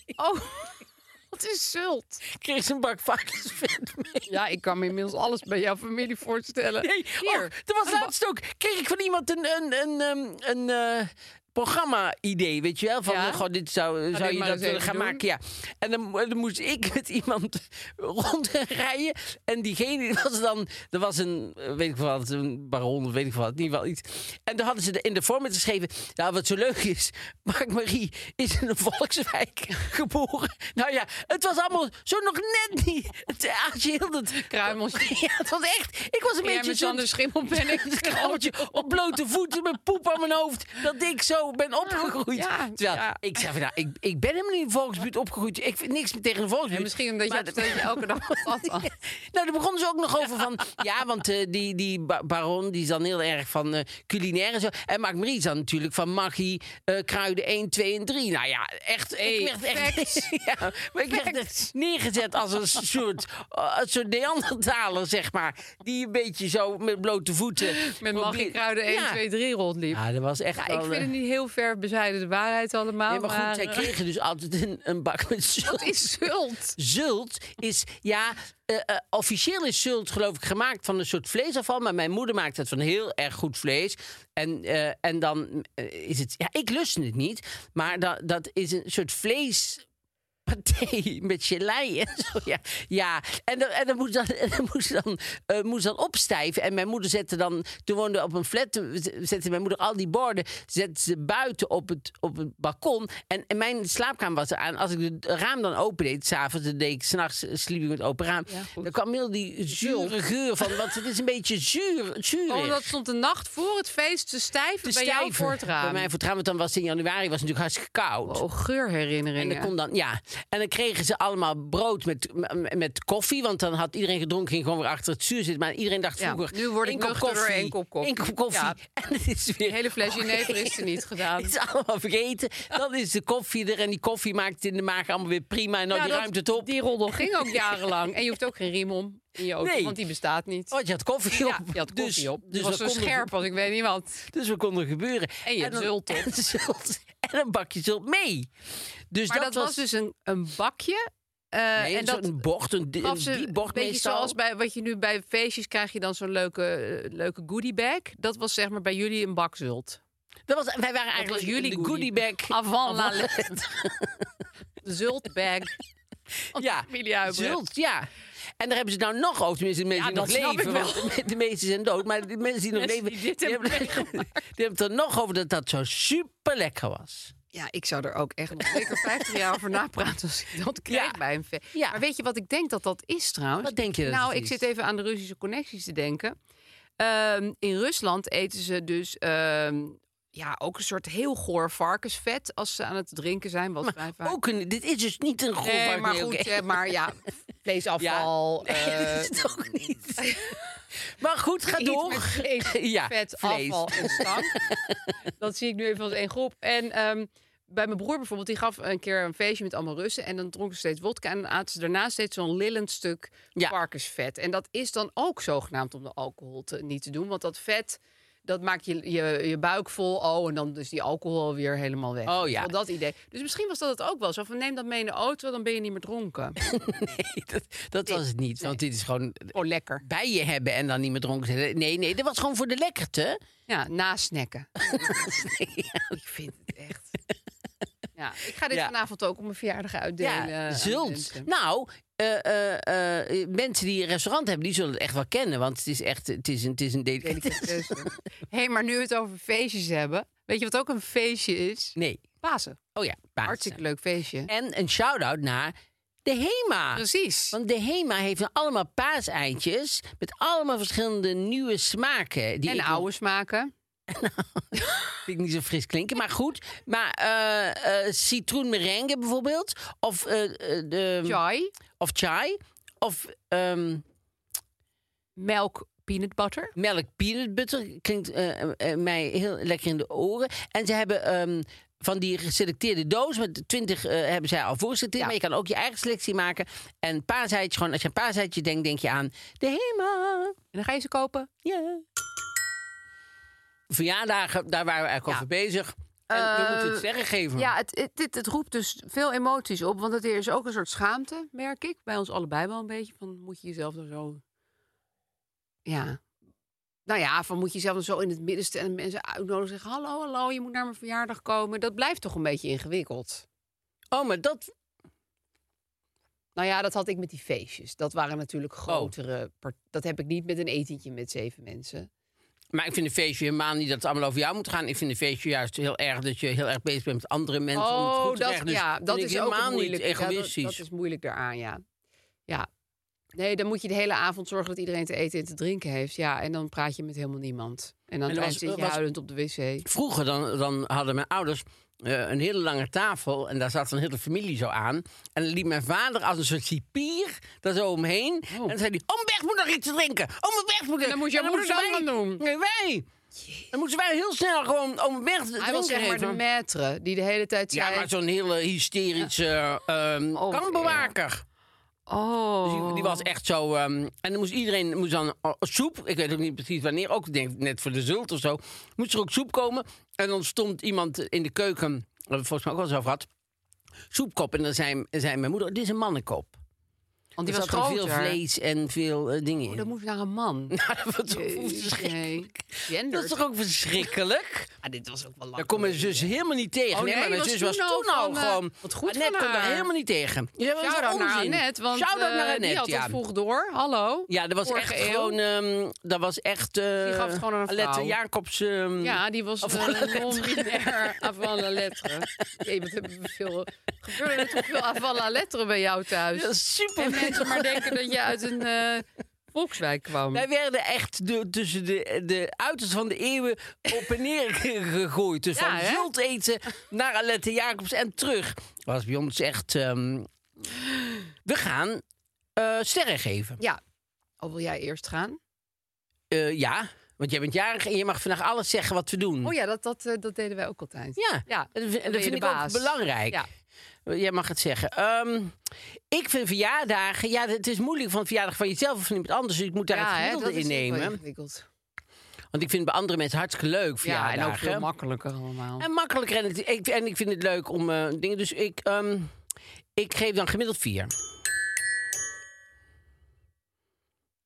Speaker 2: Oh, wat is zult?
Speaker 3: Kregen ze een bak varkensvet mee?
Speaker 2: Ja, ik kan me inmiddels alles bij jouw familie voorstellen.
Speaker 3: Nee,
Speaker 2: Hier,
Speaker 3: oh, er was laatst ook. Kreeg ik van iemand een, een, een, ehm, een eh, programma-idee, weet je wel? Van,
Speaker 2: Ja?
Speaker 3: eh, goh, dit zou,
Speaker 2: dit
Speaker 3: zou je
Speaker 2: maar
Speaker 3: dat
Speaker 2: eens
Speaker 3: willen
Speaker 2: even
Speaker 3: gaan
Speaker 2: doen.
Speaker 3: maken, ja. En dan, eh, dan moest ik met iemand rondrijden. En diegene was dan... Er was een, eh, weet ik wel wat, een baron, of weet ik wat, in ieder geval iets. En toen hadden ze de- in de format geschreven... Nou, wat zo leuk is, Mark-Marie is in een volkswijk geboren. Nou ja, het was allemaal zo nog net niet. Het aasje hield het...
Speaker 2: Kruimeltje.
Speaker 3: Ja, het was echt... Ik was een
Speaker 2: Jij
Speaker 3: beetje
Speaker 2: met
Speaker 3: zo'n-
Speaker 2: Sander Schimmel ben ik.
Speaker 3: Het kamertje op blote voeten met poep aan mijn hoofd. Dat ik zo ben opgegroeid.
Speaker 2: Ja,
Speaker 3: Terwijl
Speaker 2: ja.
Speaker 3: ik zeg van nou, ik, ik ben helemaal niet in de volksbuurt opgegroeid. Ik vind niks tegen de volksbuurt.
Speaker 2: En misschien omdat je,
Speaker 3: Maar
Speaker 2: hebt dat je elke dag wat had. dan.
Speaker 3: nou, daar begonnen ze ook nog over van... Ja, want eh, die, die ba- baron die is dan heel erg van eh culinair en zo. En Mark Marie is dan natuurlijk van magie, eh, kruiden 1, 2 en 3. Nou ja, echt... ik werd echt, ja, maar ik werd echt neergezet als een soort, eh, een soort neandertaler, zeg maar. Die een beetje zo met blote voeten...
Speaker 2: Met magie kruiden 1,
Speaker 3: Ja.
Speaker 2: 2, 3 rondliep.
Speaker 3: Ja, dat was echt
Speaker 2: Ja,
Speaker 3: wel,
Speaker 2: ik vind
Speaker 3: eh,
Speaker 2: het niet heel ver bezijden de waarheid allemaal.
Speaker 3: Nee, maar goed, zij
Speaker 2: eh,
Speaker 3: kregen dus altijd een, een bak met zult.
Speaker 2: Wat is zult?
Speaker 3: Zult is, ja, eh, eh, officieel is zult geloof ik gemaakt van een soort vleesafval. Maar mijn moeder maakt het van heel erg goed vlees. En, eh, en dan eh, is het, ja, ik lust het niet. Maar dat, dat is een soort vlees paté met gelei en zo. Ja, ja. en dan, en dan moest dan, en dan moest dan, eh, moest dan opstijven. En mijn moeder zette dan, toen woonde we op een flat, toen z- zette mijn moeder al die borden, zette ze buiten op het, op het balkon. En, en mijn slaapkamer was eraan. Als ik het raam dan open deed, s'avonds, dan deed ik s'nachts, eh, sliep ik met open raam.
Speaker 2: goed.
Speaker 3: dan kwam heel die zure geur van, want het is een beetje zuur, zuur.
Speaker 2: Omdat Oh, dat stond de nacht voor het feest te stijf bij jou voor het raam.
Speaker 3: Bij mij voor het raam, want dan was het in januari was het natuurlijk hartstikke koud.
Speaker 2: Oh,
Speaker 3: En
Speaker 2: geurherinneringen.
Speaker 3: dan, kon dan, ja. en dan kregen ze allemaal brood met, m- met koffie. Want dan had iedereen gedronken, ging gewoon weer achter het zuur zitten. Maar iedereen dacht
Speaker 2: Ja,
Speaker 3: vroeger...
Speaker 2: nu word ik
Speaker 3: één kop
Speaker 2: nuchter door
Speaker 3: koffie,
Speaker 2: één kop koffie.
Speaker 3: één kop koffie.
Speaker 2: Ja.
Speaker 3: En het is weer...
Speaker 2: De hele fles jenever is er niet gedaan.
Speaker 3: Het is allemaal vergeten. Dan is de koffie er en die koffie maakt het in de maag allemaal weer prima. En nou,
Speaker 2: Ja,
Speaker 3: die
Speaker 2: dat-
Speaker 3: ruimt het op.
Speaker 2: Die roddel ging ook jarenlang. En je hoeft ook geen riem om in je auto,
Speaker 3: Nee.
Speaker 2: want die bestaat niet.
Speaker 3: Want Oh, je had koffie
Speaker 2: ja,
Speaker 3: op.
Speaker 2: je had
Speaker 3: Dus-
Speaker 2: koffie op. Dus
Speaker 3: Dus
Speaker 2: was
Speaker 3: dat
Speaker 2: zo
Speaker 3: kon er-
Speaker 2: scherp als ik weet niet wat.
Speaker 3: Dus we konden gebeuren.
Speaker 2: En je hebt
Speaker 3: dan-
Speaker 2: zult op.
Speaker 3: En zult. En en een bakje zult mee. Dus
Speaker 2: Maar dat, was dus een, een bakje. eh,
Speaker 3: nee,
Speaker 2: en dat
Speaker 3: een bocht, een, di-
Speaker 2: gaf
Speaker 3: een
Speaker 2: ze
Speaker 3: die
Speaker 2: een
Speaker 3: bocht
Speaker 2: beetje
Speaker 3: meestal.
Speaker 2: zoals bij wat je nu bij feestjes krijg je dan zo'n leuke, eh, leuke goodie bag. Dat was zeg maar bij jullie een bakzult.
Speaker 3: dat was, wij waren
Speaker 2: Dat was
Speaker 3: eigenlijk
Speaker 2: jullie
Speaker 3: de goodie bag.
Speaker 2: Avant la lettre. Zultbag.
Speaker 3: Ja,
Speaker 2: familie Huibrecht.
Speaker 3: Zult, ja. En daar hebben ze nou nog over, tenminste de mensen
Speaker 2: Ja,
Speaker 3: die nog
Speaker 2: dat snap
Speaker 3: leven.
Speaker 2: ik wel.
Speaker 3: want de meesten zijn dood, maar de mensen die nog
Speaker 2: Mensen
Speaker 3: leven,
Speaker 2: die dit hebben
Speaker 3: hebben, die hebben het er nog over dat dat zo super lekker was.
Speaker 2: Ja, ik zou er ook echt nog zeker 50 jaar over napraten als ik dat krijg
Speaker 3: Ja.
Speaker 2: bij een fe-
Speaker 3: Ja.
Speaker 2: Maar weet je wat ik denk dat dat is trouwens?
Speaker 3: Wat denk je dat
Speaker 2: Nou,
Speaker 3: het
Speaker 2: ik
Speaker 3: is?
Speaker 2: zit even aan de Russische connecties te denken. Ehm, in Rusland eten ze dus ehm, ja, ook een soort heel goor varkensvet als ze aan het drinken zijn. Wat vrij vaak.
Speaker 3: Ook een, dit is dus niet een goed
Speaker 2: nee, maar
Speaker 3: nee,
Speaker 2: goed,
Speaker 3: oké.
Speaker 2: eh, maar ja, vleesafval.
Speaker 3: Nee,
Speaker 2: eh,
Speaker 3: dat is het ook niet. maar goed, ga door.
Speaker 2: Iets met vlees,
Speaker 3: Ja,
Speaker 2: vet,
Speaker 3: vlees.
Speaker 2: afval en stank. dat zie ik nu even als één groep. En ehm, bij mijn broer bijvoorbeeld, die gaf een keer een feestje met allemaal Russen. En dan dronken ze steeds wodka. En dan aten ze daarna steeds zo'n lillend stuk
Speaker 3: Ja.
Speaker 2: varkensvet. En dat is dan ook zogenaamd om de alcohol te, niet te doen. Want dat vet, dat maakt je, je, je buik vol. Oh, en dan dus die alcohol weer helemaal weg.
Speaker 3: Oh ja.
Speaker 2: Wel Dat idee. Dus misschien was dat het ook wel. Zo van, neem dat mee in de auto, dan ben je niet meer dronken.
Speaker 3: Nee, dat, dat was het niet. Want dit is gewoon
Speaker 2: Oh, lekker.
Speaker 3: bij je hebben en dan niet meer dronken. zijn. Nee, nee, dat was gewoon voor de lekkerte.
Speaker 2: Ja, nasnacken.
Speaker 3: Nee, ja.
Speaker 2: Ik vind het echt. Ja, ik ga dit
Speaker 3: Ja.
Speaker 2: vanavond ook op mijn verjaardag uitdelen. eh,
Speaker 3: Ja,
Speaker 2: aan
Speaker 3: zult.
Speaker 2: mensen.
Speaker 3: Nou, eh, eh, eh, mensen die een restaurant hebben, die zullen het echt wel kennen. Want het is echt, het is een, het is een delicatesse.
Speaker 2: Delicatesse. Hé, hey, maar nu we het over feestjes hebben. Weet je wat ook een feestje is?
Speaker 3: Nee.
Speaker 2: Pasen.
Speaker 3: Oh ja, Pasen.
Speaker 2: Hartstikke leuk feestje.
Speaker 3: En een shout-out naar de HEMA.
Speaker 2: Precies.
Speaker 3: Want de HEMA heeft nou allemaal paaseitjes met allemaal verschillende nieuwe smaken. Die
Speaker 2: en
Speaker 3: ik-
Speaker 2: oude smaken.
Speaker 3: Vind ik niet zo fris klinken, maar goed. Maar eh eh citroenmerengue bijvoorbeeld. Of, eh, eh, de,
Speaker 2: Chai.
Speaker 3: of chai. Of ehm,
Speaker 2: Melk peanut butter.
Speaker 3: melk peanut butter. Klinkt eh, eh, eh, mij heel lekker in de oren. En ze hebben ehm, van die geselecteerde doos met 20 eh, hebben zij al voorgeselecteerd. Maar je kan ook je eigen selectie maken. En paaseitje, gewoon als je aan paaseitje denkt, denk je aan de HEMA.
Speaker 2: En dan ga je ze kopen.
Speaker 3: Ja. Verjaardagen, daar waren we eigenlijk
Speaker 2: Ja.
Speaker 3: over bezig. En we
Speaker 2: Eh,
Speaker 3: moeten het sterren geven.
Speaker 2: Ja, het, het, het, het roept dus veel emoties op. Want het is ook een soort schaamte, merk ik. Bij ons allebei wel een beetje. Van moet je jezelf dan zo. Ja. Nou ja, van moet je jezelf dan zo in het midden stellen. En mensen uitnodigen. Zeggen: Hallo, hallo, je moet naar mijn verjaardag komen. Dat blijft toch een beetje ingewikkeld.
Speaker 3: Oh, maar dat
Speaker 2: Nou ja, dat had ik met die feestjes. Dat waren natuurlijk grotere. part- Dat heb ik niet met een etentje met zeven mensen.
Speaker 3: Maar ik vind een feestje helemaal niet dat het allemaal over jou moet gaan. Ik vind een feestje juist heel erg dat je heel erg bezig bent met andere mensen. om het goed te krijgen. Dus
Speaker 2: ja,
Speaker 3: vind
Speaker 2: Oh, dat
Speaker 3: ik
Speaker 2: is ook
Speaker 3: helemaal
Speaker 2: het
Speaker 3: niet
Speaker 2: moeilijke. Ja, dat-
Speaker 3: egoïstisch.
Speaker 2: dat, is moeilijk daaraan, ja. Ja. Nee, dan moet je de hele avond zorgen dat iedereen te eten en te drinken heeft. Ja, en dan praat je met helemaal niemand. En dan
Speaker 3: En er was-
Speaker 2: zit je
Speaker 3: was-
Speaker 2: huilend op de wc.
Speaker 3: Vroeger dan, dan hadden mijn ouders eh, een hele lange tafel en daar zat een hele familie zo aan. En dan liep mijn vader als een soort cipier daar zo omheen. En dan zei hij, oh, mijn weg moet nog iets te drinken. Oh, mijn weg moet
Speaker 2: En dan moest jouw moeder
Speaker 3: moesten
Speaker 2: dat
Speaker 3: wij-
Speaker 2: gaan doen.
Speaker 3: Nee, wij. Dan moesten wij heel snel gewoon om weg te drinken
Speaker 2: Hij was zeg maar de
Speaker 3: geven.
Speaker 2: maître die de hele tijd
Speaker 3: Ja,
Speaker 2: zei...
Speaker 3: maar zo'n hele hysterische ehm
Speaker 2: Oh,
Speaker 3: kampbewaker. Dus
Speaker 2: Oh,
Speaker 3: die, die was echt zo. ehm, en dan moest iedereen moest dan oh, soep. Ik weet ook niet precies wanneer. Ook ik denk net voor de zult of zo. Moest er ook soep komen. En dan stond iemand in de keuken. eh, Volgens mij ook al zo had. Soepkop. En dan zei, zei mijn moeder: Dit is een mannenkop.
Speaker 2: want
Speaker 3: Er
Speaker 2: die was
Speaker 3: zat er
Speaker 2: groter.
Speaker 3: veel vlees en veel eh, dingen
Speaker 2: Oh,
Speaker 3: in.
Speaker 2: dat moest naar een man.
Speaker 3: dat, was toch verschrikkelijk?
Speaker 2: Nee, gender.
Speaker 3: dat is toch ook verschrikkelijk?
Speaker 2: Ah, dit was ook wel lang.
Speaker 3: Daar kon mijn
Speaker 2: geleden.
Speaker 3: zus helemaal niet tegen.
Speaker 2: Oh,
Speaker 3: nee,
Speaker 2: nee,
Speaker 3: maar mijn
Speaker 2: was
Speaker 3: zus was
Speaker 2: toen al
Speaker 3: toen al
Speaker 2: van, eh,
Speaker 3: gewoon.
Speaker 2: wat goed
Speaker 3: Annette
Speaker 2: van
Speaker 3: kon daar
Speaker 2: haar.
Speaker 3: helemaal niet tegen. Je zei, wat is dat
Speaker 2: Shout-out naar
Speaker 3: onzin?
Speaker 2: Annette, want
Speaker 3: Shout-out
Speaker 2: eh,
Speaker 3: naar
Speaker 2: die
Speaker 3: Annette,
Speaker 2: had
Speaker 3: ja.
Speaker 2: het vroeg door. Hallo.
Speaker 3: Ja, dat was
Speaker 2: Vorige
Speaker 3: echt
Speaker 2: eeuw.
Speaker 3: gewoon. ehm, dat was echt. eh
Speaker 2: Die gaf het gewoon aan een
Speaker 3: Alette
Speaker 2: vrouw.
Speaker 3: Jacobs. ehm,
Speaker 2: Ja, die was
Speaker 3: Avant la
Speaker 2: eh,
Speaker 3: lettre.
Speaker 2: non-binair avant la lettre. Jee, wat hebben we veel... Gebeurde er toch veel avant la lettre bij jou thuis?
Speaker 3: dat is super.
Speaker 2: dus- en mensen maar denken dat je uit een eh, Volkswijk kwam.
Speaker 3: Wij werden echt de, tussen de, de uiterst van de eeuwen op en neer ge- gegooid. Dus
Speaker 2: Ja,
Speaker 3: van
Speaker 2: hè?
Speaker 3: zult eten naar Alette Jacobs en terug. Was bij ons echt. ehm, we gaan eh, sterren geven.
Speaker 2: Ja. Oh, wil jij eerst gaan?
Speaker 3: Eh, ja, want jij bent jarig en je mag vandaag alles zeggen wat we doen.
Speaker 2: Oh ja, dat, dat, eh, dat deden wij ook altijd.
Speaker 3: Ja,
Speaker 2: Ja,
Speaker 3: en dat,
Speaker 2: dan
Speaker 3: vind- en
Speaker 2: ben
Speaker 3: dat
Speaker 2: je
Speaker 3: vind
Speaker 2: de
Speaker 3: ik ook
Speaker 2: baas.
Speaker 3: belangrijk.
Speaker 2: Ja.
Speaker 3: Jij mag het zeggen. Ehm, ik vind verjaardagen... Ja, het is moeilijk van verjaardag van jezelf of van iemand anders. Dus ik moet daar
Speaker 2: Ja,
Speaker 3: het
Speaker 2: hè,
Speaker 3: gemiddelde
Speaker 2: dat is
Speaker 3: in
Speaker 2: ook wel
Speaker 3: nemen.
Speaker 2: ingewikkeld.
Speaker 3: Want ik vind bij andere mensen hartstikke leuk
Speaker 2: Ja,
Speaker 3: verjaardagen.
Speaker 2: en ook veel makkelijker allemaal.
Speaker 3: En makkelijker. En, het- ik, en ik vind het leuk om eh, dingen... Dus ik, ehm, ik geef dan gemiddeld vier.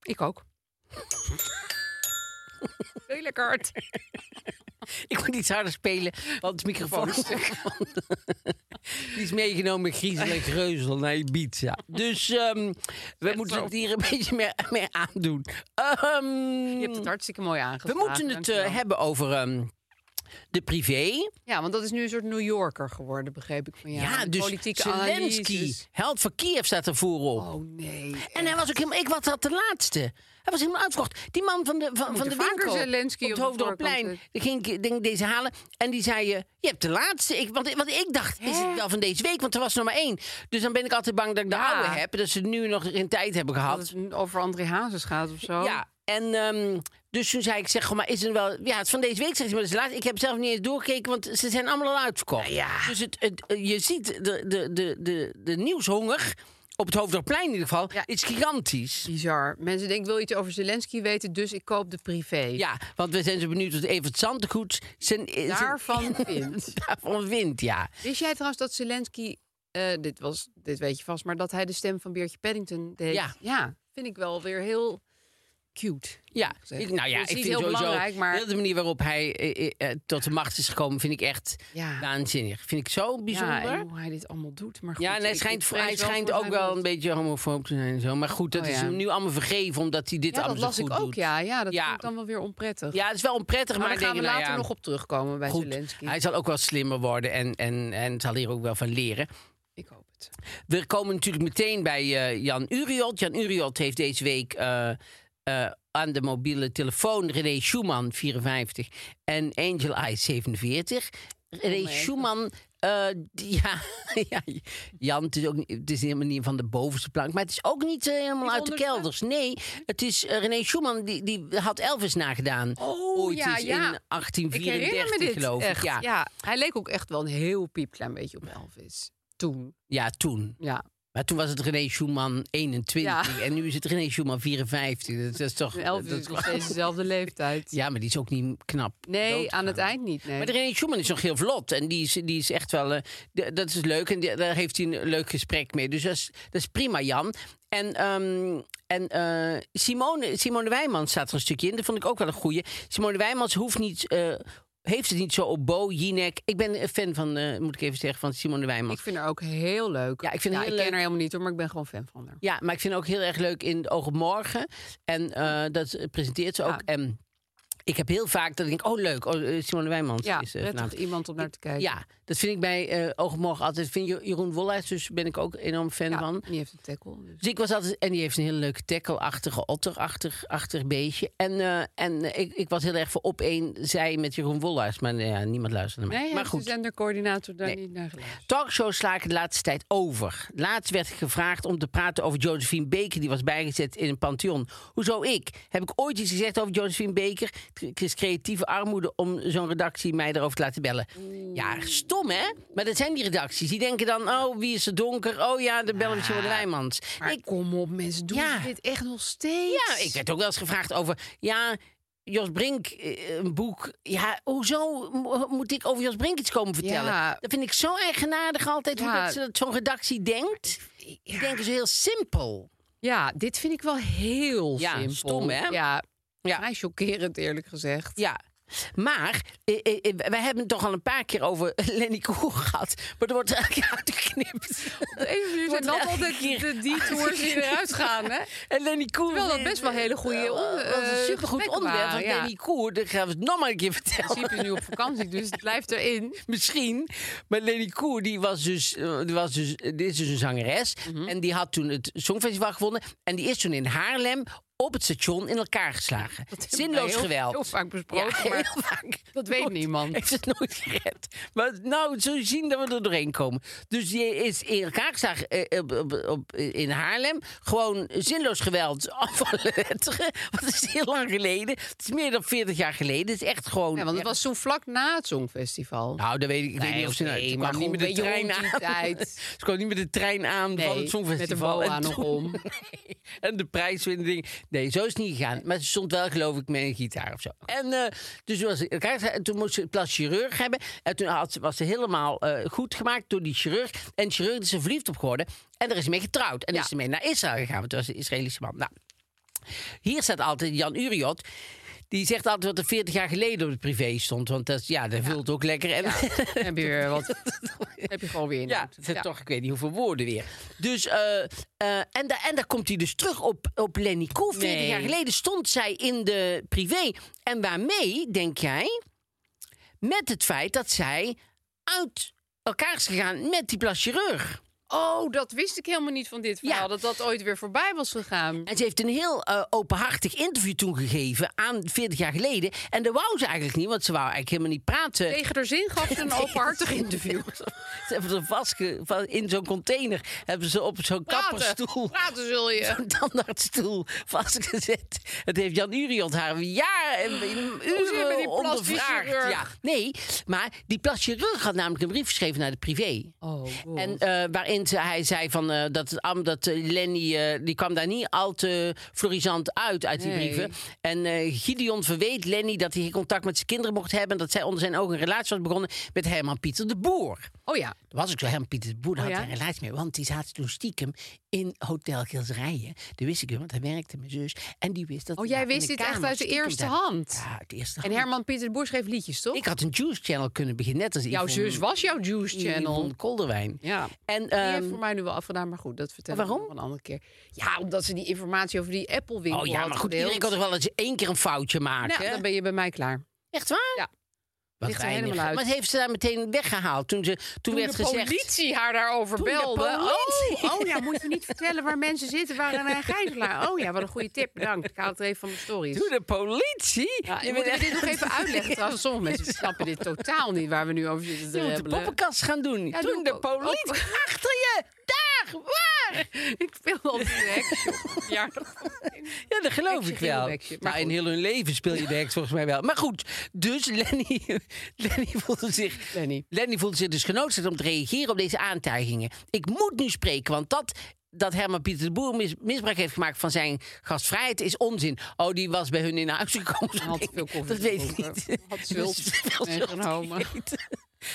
Speaker 2: Ik ook. Heel lekker hard.
Speaker 3: Ik moet iets harder spelen, want de microfoon is stuk. Die is meegenomen in griezelig reuzel naar Ibiza. Dus ehm, we moeten het hier een beetje meer, meer aandoen. Ehm,
Speaker 2: Je hebt het hartstikke mooi
Speaker 3: we
Speaker 2: aangeslagen.
Speaker 3: moeten het eh,
Speaker 2: dankjewel.
Speaker 3: hebben over ehm, de privé.
Speaker 2: Ja, want dat is nu een soort New Yorker geworden, begreep ik van
Speaker 3: Ja,
Speaker 2: jou. En
Speaker 3: dus
Speaker 2: politieke
Speaker 3: Zelensky,
Speaker 2: analyses.
Speaker 3: held van Kiev, staat er voorop.
Speaker 2: Oh nee.
Speaker 3: En hij was ook helemaal, ik was dat de laatste. Hij was helemaal uitverkocht. Die man van de, van, van de
Speaker 2: moeten Oh, vaker
Speaker 3: winkel
Speaker 2: Zelensky
Speaker 3: op het
Speaker 2: op de
Speaker 3: Hoofddorpplein.
Speaker 2: voorkant
Speaker 3: Die ging ik denk, deze halen en die zei, eh, je hebt de laatste. Ik, want, want ik dacht, is het wel van deze week? Want er was er maar één. Dus dan ben ik altijd bang dat ik de
Speaker 2: Ja.
Speaker 3: oude heb. Dat ze nu nog geen tijd hebben
Speaker 2: Dat
Speaker 3: gehad.
Speaker 2: het over André Hazes gaat of zo.
Speaker 3: Ja, en ehm, dus toen zei ik, zeg gewoon maar, is er wel... Ja, het is van deze week, zegt ze, maar dat is de laatste. Ik heb zelf niet eens doorgekeken, want ze zijn allemaal al uitverkocht. Dus het, het, je ziet, de, de, de, de, de nieuwshonger, op het Hoofddorpplein in ieder geval,
Speaker 2: Ja.
Speaker 3: is gigantisch.
Speaker 2: Bizar. Mensen denken, wil je iets over Zelensky weten, dus ik koop de privé.
Speaker 3: Ja, want we zijn zo benieuwd wat Evert Zandegoed zijn, eh, zijn-
Speaker 2: Daarvan vindt.
Speaker 3: daarvan vindt, ja.
Speaker 2: Wist jij trouwens dat Zelensky, eh, dit, was, dit weet je vast, maar dat hij de stem van Beertje Paddington deed?
Speaker 3: Ja.
Speaker 2: vind ik wel weer heel cute.
Speaker 3: Ja,
Speaker 2: gezegd.
Speaker 3: ik, nou ja,
Speaker 2: Dus
Speaker 3: ik
Speaker 2: niet
Speaker 3: vind
Speaker 2: heel
Speaker 3: sowieso
Speaker 2: belangrijk, maar-
Speaker 3: heel de manier waarop hij eh, eh, eh, tot de macht is gekomen, vind ik echt
Speaker 2: Ja.
Speaker 3: waanzinnig. Vind ik zo bijzonder.
Speaker 2: Ja, en hoe hij dit allemaal doet. Maar goed,
Speaker 3: Ja, en hij
Speaker 2: ik- ik
Speaker 3: schijnt,
Speaker 2: vrees
Speaker 3: hij schijnt
Speaker 2: voor
Speaker 3: ook
Speaker 2: zijn
Speaker 3: wel
Speaker 2: lot.
Speaker 3: een beetje homofoob te zijn en zo. Maar goed, dat
Speaker 2: Oh
Speaker 3: is
Speaker 2: ja.
Speaker 3: hem nu allemaal vergeven omdat hij dit
Speaker 2: Ja, dat
Speaker 3: allemaal
Speaker 2: las
Speaker 3: zo goed
Speaker 2: ik ook,
Speaker 3: doet.
Speaker 2: ja. Ja, dat
Speaker 3: Ja.
Speaker 2: vind ik dan wel weer onprettig.
Speaker 3: Ja, het is wel onprettig,
Speaker 2: maar
Speaker 3: maar,
Speaker 2: daar
Speaker 3: ik
Speaker 2: gaan
Speaker 3: denk,
Speaker 2: we
Speaker 3: nou
Speaker 2: later
Speaker 3: ja,
Speaker 2: nog op terugkomen bij
Speaker 3: goed.
Speaker 2: Zelensky.
Speaker 3: Hij zal ook wel slimmer worden en, en, en zal hier ook wel van leren.
Speaker 2: Ik hoop het.
Speaker 3: We komen natuurlijk meteen bij eh, Jan Uriot. Jan Uriot heeft deze week eh, eh, aan de mobiele telefoon René Schumann, 54, en Angel Eyes, 47. René
Speaker 2: Onmogelijk.
Speaker 3: Schumann, eh, die- ja, ja, Jan, het is, ook, niet- het is helemaal niet van de bovenste plank, maar het is ook niet eh, helemaal
Speaker 2: Niet
Speaker 3: uit de
Speaker 2: onderste?
Speaker 3: kelders. Nee, het is eh, René Schumann, die, die had Elvis nagedaan.
Speaker 2: Oh,
Speaker 3: Ooit eens
Speaker 2: ja, ja.
Speaker 3: in
Speaker 2: Ik herinner
Speaker 3: 1834,
Speaker 2: me dit
Speaker 3: geloof
Speaker 2: echt.
Speaker 3: ik. Ja, ja.
Speaker 2: ja, hij leek ook echt wel een heel piepklein beetje op Elvis. Toen,
Speaker 3: toen.
Speaker 2: ja.
Speaker 3: Maar toen was het René Schumann 21
Speaker 2: Ja.
Speaker 3: en nu is het René Schumann 54. Dat, dat is toch...
Speaker 2: En Elvis
Speaker 3: dat-
Speaker 2: is nog steeds dezelfde leeftijd.
Speaker 3: Ja, maar die is ook niet knap.
Speaker 2: Nee,
Speaker 3: doodgegaan.
Speaker 2: aan het eind niet, nee.
Speaker 3: Maar de René Schumann is nog heel vlot en die is, die is echt wel... eh, d- dat is leuk en die- daar heeft hij een leuk gesprek mee. Dus dat is, dat is prima, Jan. En, ehm, en eh, Simone, Simone Wijmans staat er een stukje in. Dat vond ik ook wel een goeie. Simone Wijmans hoeft niet... eh, heeft het niet zo op Bo, Jinek. Ik ben een fan van, eh, moet ik even zeggen, van Simone Wijmans.
Speaker 2: Ik vind haar ook heel leuk.
Speaker 3: Ja, ik vind haar heel
Speaker 2: ik ken
Speaker 3: leuk.
Speaker 2: haar helemaal niet hoor, maar ik ben gewoon fan van haar.
Speaker 3: Ja, maar ik vind haar ook heel erg leuk in het Oog op Morgen. En eh, dat eh, presenteert ze ook.
Speaker 2: Ja.
Speaker 3: En ik heb heel vaak dat ik denk, oh leuk, oh, eh, Simone Wijmans
Speaker 2: Ja,
Speaker 3: is eh,
Speaker 2: prettig
Speaker 3: vanavond.
Speaker 2: iemand om naar te kijken.
Speaker 3: Ja, dat vind ik bij eh Oog op Morgen altijd. Vind Jo- Jeroen Wollaars, dus ben ik ook enorm fan
Speaker 2: Ja,
Speaker 3: van.
Speaker 2: en die heeft een tackle. dus.
Speaker 3: Dus ik was altijd, en die heeft een hele leuke tackle-achtige, otter-achtig achtig beestje. En, eh, en eh, ik, ik was heel erg voor op één zij met Jeroen Wollaars. Maar nou ja, niemand luisterde naar mij.
Speaker 2: Nee,
Speaker 3: maar
Speaker 2: maar goed. de zendercoördinator daar
Speaker 3: Nee.
Speaker 2: niet naar geluisterd.
Speaker 3: Talkshows sla ik de laatste tijd over. Laatst werd ik gevraagd om te praten over Josephine Baker. Die was bijgezet in een pantheon. Hoezo ik? Heb ik ooit iets gezegd over Josephine Baker? Het is creatieve armoede om zo'n redactie mij erover te laten bellen. Ja, stom hè? Maar dat zijn die redacties. Die denken dan, oh, wie is er donker? Oh ja, de bellen we Simone Wijmans.
Speaker 2: Maar
Speaker 3: Ik,
Speaker 2: kom op mensen, doen
Speaker 3: Ja.
Speaker 2: ze dit echt nog steeds?
Speaker 3: ja, ik werd ook wel eens gevraagd over... Ja, Jos Brink, eh, een boek. Ja, hoezo mo- moet ik over Jos Brink iets komen vertellen?
Speaker 2: Ja.
Speaker 3: Dat vind ik zo eigenaardig altijd, hoe
Speaker 2: Ja.
Speaker 3: dat ze dat zo'n redactie denkt. Die denken zo heel simpel.
Speaker 2: Ja, dit vind ik wel heel
Speaker 3: Ja,
Speaker 2: simpel.
Speaker 3: stom, hè?
Speaker 2: Ja,
Speaker 3: Ja.
Speaker 2: vrij chockerend eerlijk gezegd.
Speaker 3: Ja. Maar eh, eh, eh, we hebben het toch al een paar keer over Lenny Koer gehad. Maar er wordt elke keer uitgeknipt.
Speaker 2: Even nu zijn
Speaker 3: Wordt
Speaker 2: dat
Speaker 3: elke
Speaker 2: altijd
Speaker 3: keer
Speaker 2: de detours die
Speaker 3: uitgeknipt.
Speaker 2: eruit gaan, hè?
Speaker 3: En Lenny Koer...
Speaker 2: Terwijl dat best wel hele goede
Speaker 3: Eh,
Speaker 2: onder-
Speaker 3: dat was
Speaker 2: eh,
Speaker 3: een supergoed
Speaker 2: gesprekken
Speaker 3: onderwerp van
Speaker 2: waren, ja.
Speaker 3: Lenny Koer. Dat gaan we het nog maar een keer
Speaker 2: In
Speaker 3: vertellen.
Speaker 2: principe is nu op vakantie, dus het blijft erin.
Speaker 3: misschien. Maar Lenny Koer, die was dus, eh, die was dus, eh, dit is dus een zangeres.
Speaker 2: Mhm.
Speaker 3: En die had toen het Songfestival gewonnen. En die is toen in Haarlem op het station in elkaar geslagen. Zinloos
Speaker 2: Heel-
Speaker 3: geweld.
Speaker 2: Heel vaak besproken,
Speaker 3: Ja,
Speaker 2: maar
Speaker 3: heel vaak.
Speaker 2: dat weet
Speaker 3: Nooit-
Speaker 2: niemand.
Speaker 3: Heeft het nooit gered. Maar nou, zul je zien dat we er doorheen komen. Dus die is in elkaar geslagen eh, op, op, op- in Haarlem. Gewoon zinloos geweld af alle letteren. Want het is heel lang geleden. Het is meer dan 40 jaar geleden. Het is echt gewoon...
Speaker 2: Ja, want het
Speaker 3: echt-
Speaker 2: was zo vlak na het Songfestival.
Speaker 3: Nou, dat weet ik, ik weet niet of ze...
Speaker 2: oké,
Speaker 3: nou, ze
Speaker 2: maar
Speaker 3: kwam niet
Speaker 2: gewoon
Speaker 3: met de
Speaker 2: een beetje
Speaker 3: trein
Speaker 2: rond die
Speaker 3: aan.
Speaker 2: tijd.
Speaker 3: Ze kwam niet met de trein aan van
Speaker 2: Nee,
Speaker 3: het Songfestival.
Speaker 2: met een boa
Speaker 3: En
Speaker 2: nog
Speaker 3: toen-
Speaker 2: om.
Speaker 3: Nee. En de prijswinning. Nee, zo is het niet gegaan. Maar ze stond wel, geloof ik, met een gitaar of zo. En eh, dus was ze, elkaar- en toen moest ze een plas chirurg hebben. En toen had ze, was ze helemaal eh, goed gemaakt door die chirurg. En de chirurg is er verliefd op geworden. En daar is ze mee getrouwd. En is ze mee naar Israël gegaan, want het was een Israëlische man. Nou, hier staat altijd Jan Uriot. Die zegt altijd wat er 40 jaar geleden op het privé stond. Want dat, is- ja, dat vult ook lekker. En,
Speaker 2: heb je weer wat? heb je gewoon weer in?
Speaker 3: ja, het zijn toch, ik weet niet hoeveel woorden weer. Dus, eh, eh, en, daar en daar komt hij dus terug op, op Lenny Koe. 40
Speaker 2: Nee.
Speaker 3: jaar geleden stond zij in de privé. En waarmee, denk jij? Met het feit dat zij uit elkaar is gegaan met die plaschirurg.
Speaker 2: Oh, dat wist ik helemaal niet van dit verhaal.
Speaker 3: Ja.
Speaker 2: Dat dat ooit weer voorbij was gegaan.
Speaker 3: En ze heeft een heel eh, openhartig interview toen gegeven aan 40 jaar geleden. En dat wou ze eigenlijk niet, want ze wou eigenlijk helemaal niet praten.
Speaker 2: Tegen haar zin gaf ze een openhartig interview.
Speaker 3: Ze hebben ze vastge... va- in zo'n container hebben ze op zo'n kapperstoel...
Speaker 2: praten zul je.
Speaker 3: een tandartsstoel vastgezet. Het heeft Jan Uriot haar jaren en
Speaker 2: je met die
Speaker 3: uren ondervraagd.
Speaker 2: plastisch chirurg?
Speaker 3: Ja, nee, maar die plastisch chirurg had namelijk een brief geschreven naar de privé.
Speaker 2: Oh,
Speaker 3: En eh, waarin ze, hij zei van, eh, dat, het am- dat eh, Lenny, eh, die kwam daar niet al te florisant uit, uit die
Speaker 2: Nee.
Speaker 3: brieven. En eh, Gideon verweet Lenny dat hij geen contact met zijn kinderen mocht hebben. En dat zij onder zijn ogen een relatie was begonnen met Herman Pieter de Boer.
Speaker 2: oh ja.
Speaker 3: Er was ook zo Herman Pieter de Boer, daar
Speaker 2: Oh,
Speaker 3: had
Speaker 2: ja?
Speaker 3: hij een relatie mee. Want die zaten toen stiekem in Hotel Gilserijen. Dat wist ik, want daar werkte mijn zus. En die wist dat...
Speaker 2: Oh,
Speaker 3: hij
Speaker 2: jij
Speaker 3: daar in
Speaker 2: wist
Speaker 3: de
Speaker 2: dit echt
Speaker 3: kamer
Speaker 2: uit de
Speaker 3: stiekem
Speaker 2: eerste
Speaker 3: daar-
Speaker 2: hand?
Speaker 3: Ja, uit de eerste
Speaker 2: En
Speaker 3: hand.
Speaker 2: Herman Pieter de Boer schreef liedjes, toch?
Speaker 3: Ik had een Juice Channel kunnen beginnen, net als
Speaker 2: jouw
Speaker 3: Yvonne-
Speaker 2: zus was jouw Juice Channel.
Speaker 3: Yvonne Kolderwijn.
Speaker 2: Ja.
Speaker 3: En,
Speaker 2: Die heeft
Speaker 3: ehm,
Speaker 2: voor mij nu wel afgedaan, maar goed, dat vertel ik
Speaker 3: Waarom?
Speaker 2: nog een andere keer. Ja, omdat ze die informatie over die Apple-winkel
Speaker 3: Oh ja,
Speaker 2: had
Speaker 3: maar goed,
Speaker 2: gedeeld.
Speaker 3: iedereen kan toch wel eens één keer een foutje maken?
Speaker 2: Nou, dan ben je bij mij klaar.
Speaker 3: Echt waar?
Speaker 2: Ja.
Speaker 3: Wat
Speaker 2: Ligt er
Speaker 3: weinig.
Speaker 2: helemaal uit.
Speaker 3: Maar heeft ze daar meteen weggehaald toen, ze, toen, werd
Speaker 2: de
Speaker 3: gezegd...
Speaker 2: politie haar daarover
Speaker 3: Toen de
Speaker 2: belde.
Speaker 3: politie-
Speaker 2: Oh, oh ja, moet je niet vertellen waar mensen zitten, waar een gijzelaar. Oh ja, wat een goede tip, bedankt. Ik haal het even van de stories.
Speaker 3: Toen de politie?
Speaker 2: Ja,
Speaker 3: Je
Speaker 2: je
Speaker 3: bent
Speaker 2: moet
Speaker 3: echt-
Speaker 2: dit nog even uitleggen trouwens. Sommige mensen snappen dit totaal niet waar we nu over zitten te
Speaker 3: Je moet de
Speaker 2: hebben.
Speaker 3: poppenkast gaan doen.
Speaker 2: Ja,
Speaker 3: toen
Speaker 2: doe
Speaker 3: de
Speaker 2: ik ook.
Speaker 3: politie... Achter je! Daar! Waar?
Speaker 2: Ik speel al die heks. Ja,
Speaker 3: Ja, dat geloof
Speaker 2: Heksen
Speaker 3: ik wel.
Speaker 2: heel heksen, maar
Speaker 3: Maar in
Speaker 2: goed.
Speaker 3: heel hun leven speel je de heks volgens mij wel. Maar goed, dus Lenny, Lenny, voelde, zich,
Speaker 2: Lenny.
Speaker 3: Lenny voelde zich dus genoodzaakt om te reageren op deze aantijgingen. Ik moet nu spreken, want dat, dat Herman Pieter de Boer mis- misbruik heeft gemaakt van zijn gastvrijheid is onzin. Oh, die was bij hun in huis gekomen.
Speaker 2: Had
Speaker 3: Ik-
Speaker 2: veel koffie
Speaker 3: Dat weet ik
Speaker 2: gedronken.
Speaker 3: niet.
Speaker 2: Had zult
Speaker 3: Veel zult
Speaker 2: meegenomen.
Speaker 3: gegeten.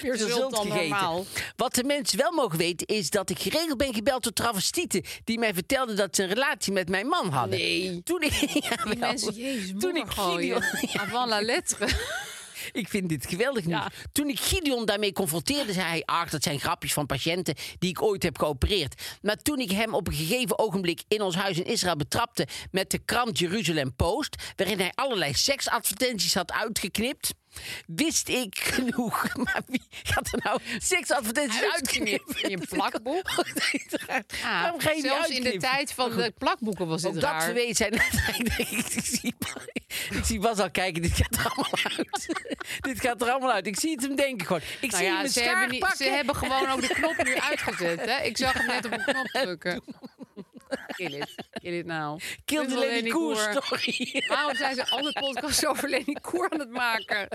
Speaker 2: Meer
Speaker 3: Veel
Speaker 2: zult
Speaker 3: zult
Speaker 2: dan
Speaker 3: gegeten.
Speaker 2: normaal.
Speaker 3: Wat de mensen wel mogen weten is dat ik geregeld ben gebeld door travestieten die mij vertelden dat ze een relatie met mijn man hadden.
Speaker 2: Nee.
Speaker 3: Toen ik, ja,
Speaker 2: Die
Speaker 3: wel.
Speaker 2: mensen, jezus,
Speaker 3: toen ik Gideon,
Speaker 2: gooien. Avant la lettre.
Speaker 3: ik vind dit geweldig nieuws. Toen ik Gideon daarmee confronteerde, zei hij... ach, dat zijn grapjes van patiënten die ik ooit heb geopereerd. Maar toen ik hem op een gegeven ogenblik in ons huis in Israël betrapte... met de krant Jeruzalem Post... waarin hij allerlei seksadvertenties had uitgeknipt... Wist ik genoeg. Maar wie gaat er nou seksadvertenties
Speaker 2: Uitgeknipt
Speaker 3: uitknippen?
Speaker 2: in je plakboek. Ja,
Speaker 3: Waarom ga je die
Speaker 2: zelfs in de
Speaker 3: uitknippen?
Speaker 2: tijd van de plakboeken was dit
Speaker 3: Ook dat
Speaker 2: raar.
Speaker 3: ze weet zijn. ik, denk, ik, zie, ik zie Bas al kijken, dit gaat er allemaal uit. dit gaat er allemaal uit. Ik zie het hem denken gewoon. Ik
Speaker 2: Nou
Speaker 3: zie hem
Speaker 2: ja,
Speaker 3: een
Speaker 2: ze
Speaker 3: schaar
Speaker 2: hebben, niet, ze
Speaker 3: pakken.
Speaker 2: hebben gewoon ook de knop nu uitgezet. Hè? Ik zag hem net op een knop drukken. Kill it. Kill it now.
Speaker 3: Kill
Speaker 2: Dit
Speaker 3: the
Speaker 2: wil
Speaker 3: Lenny Koer story.
Speaker 2: Waarom zijn ze alle podcasts over Lenny Koer aan het maken?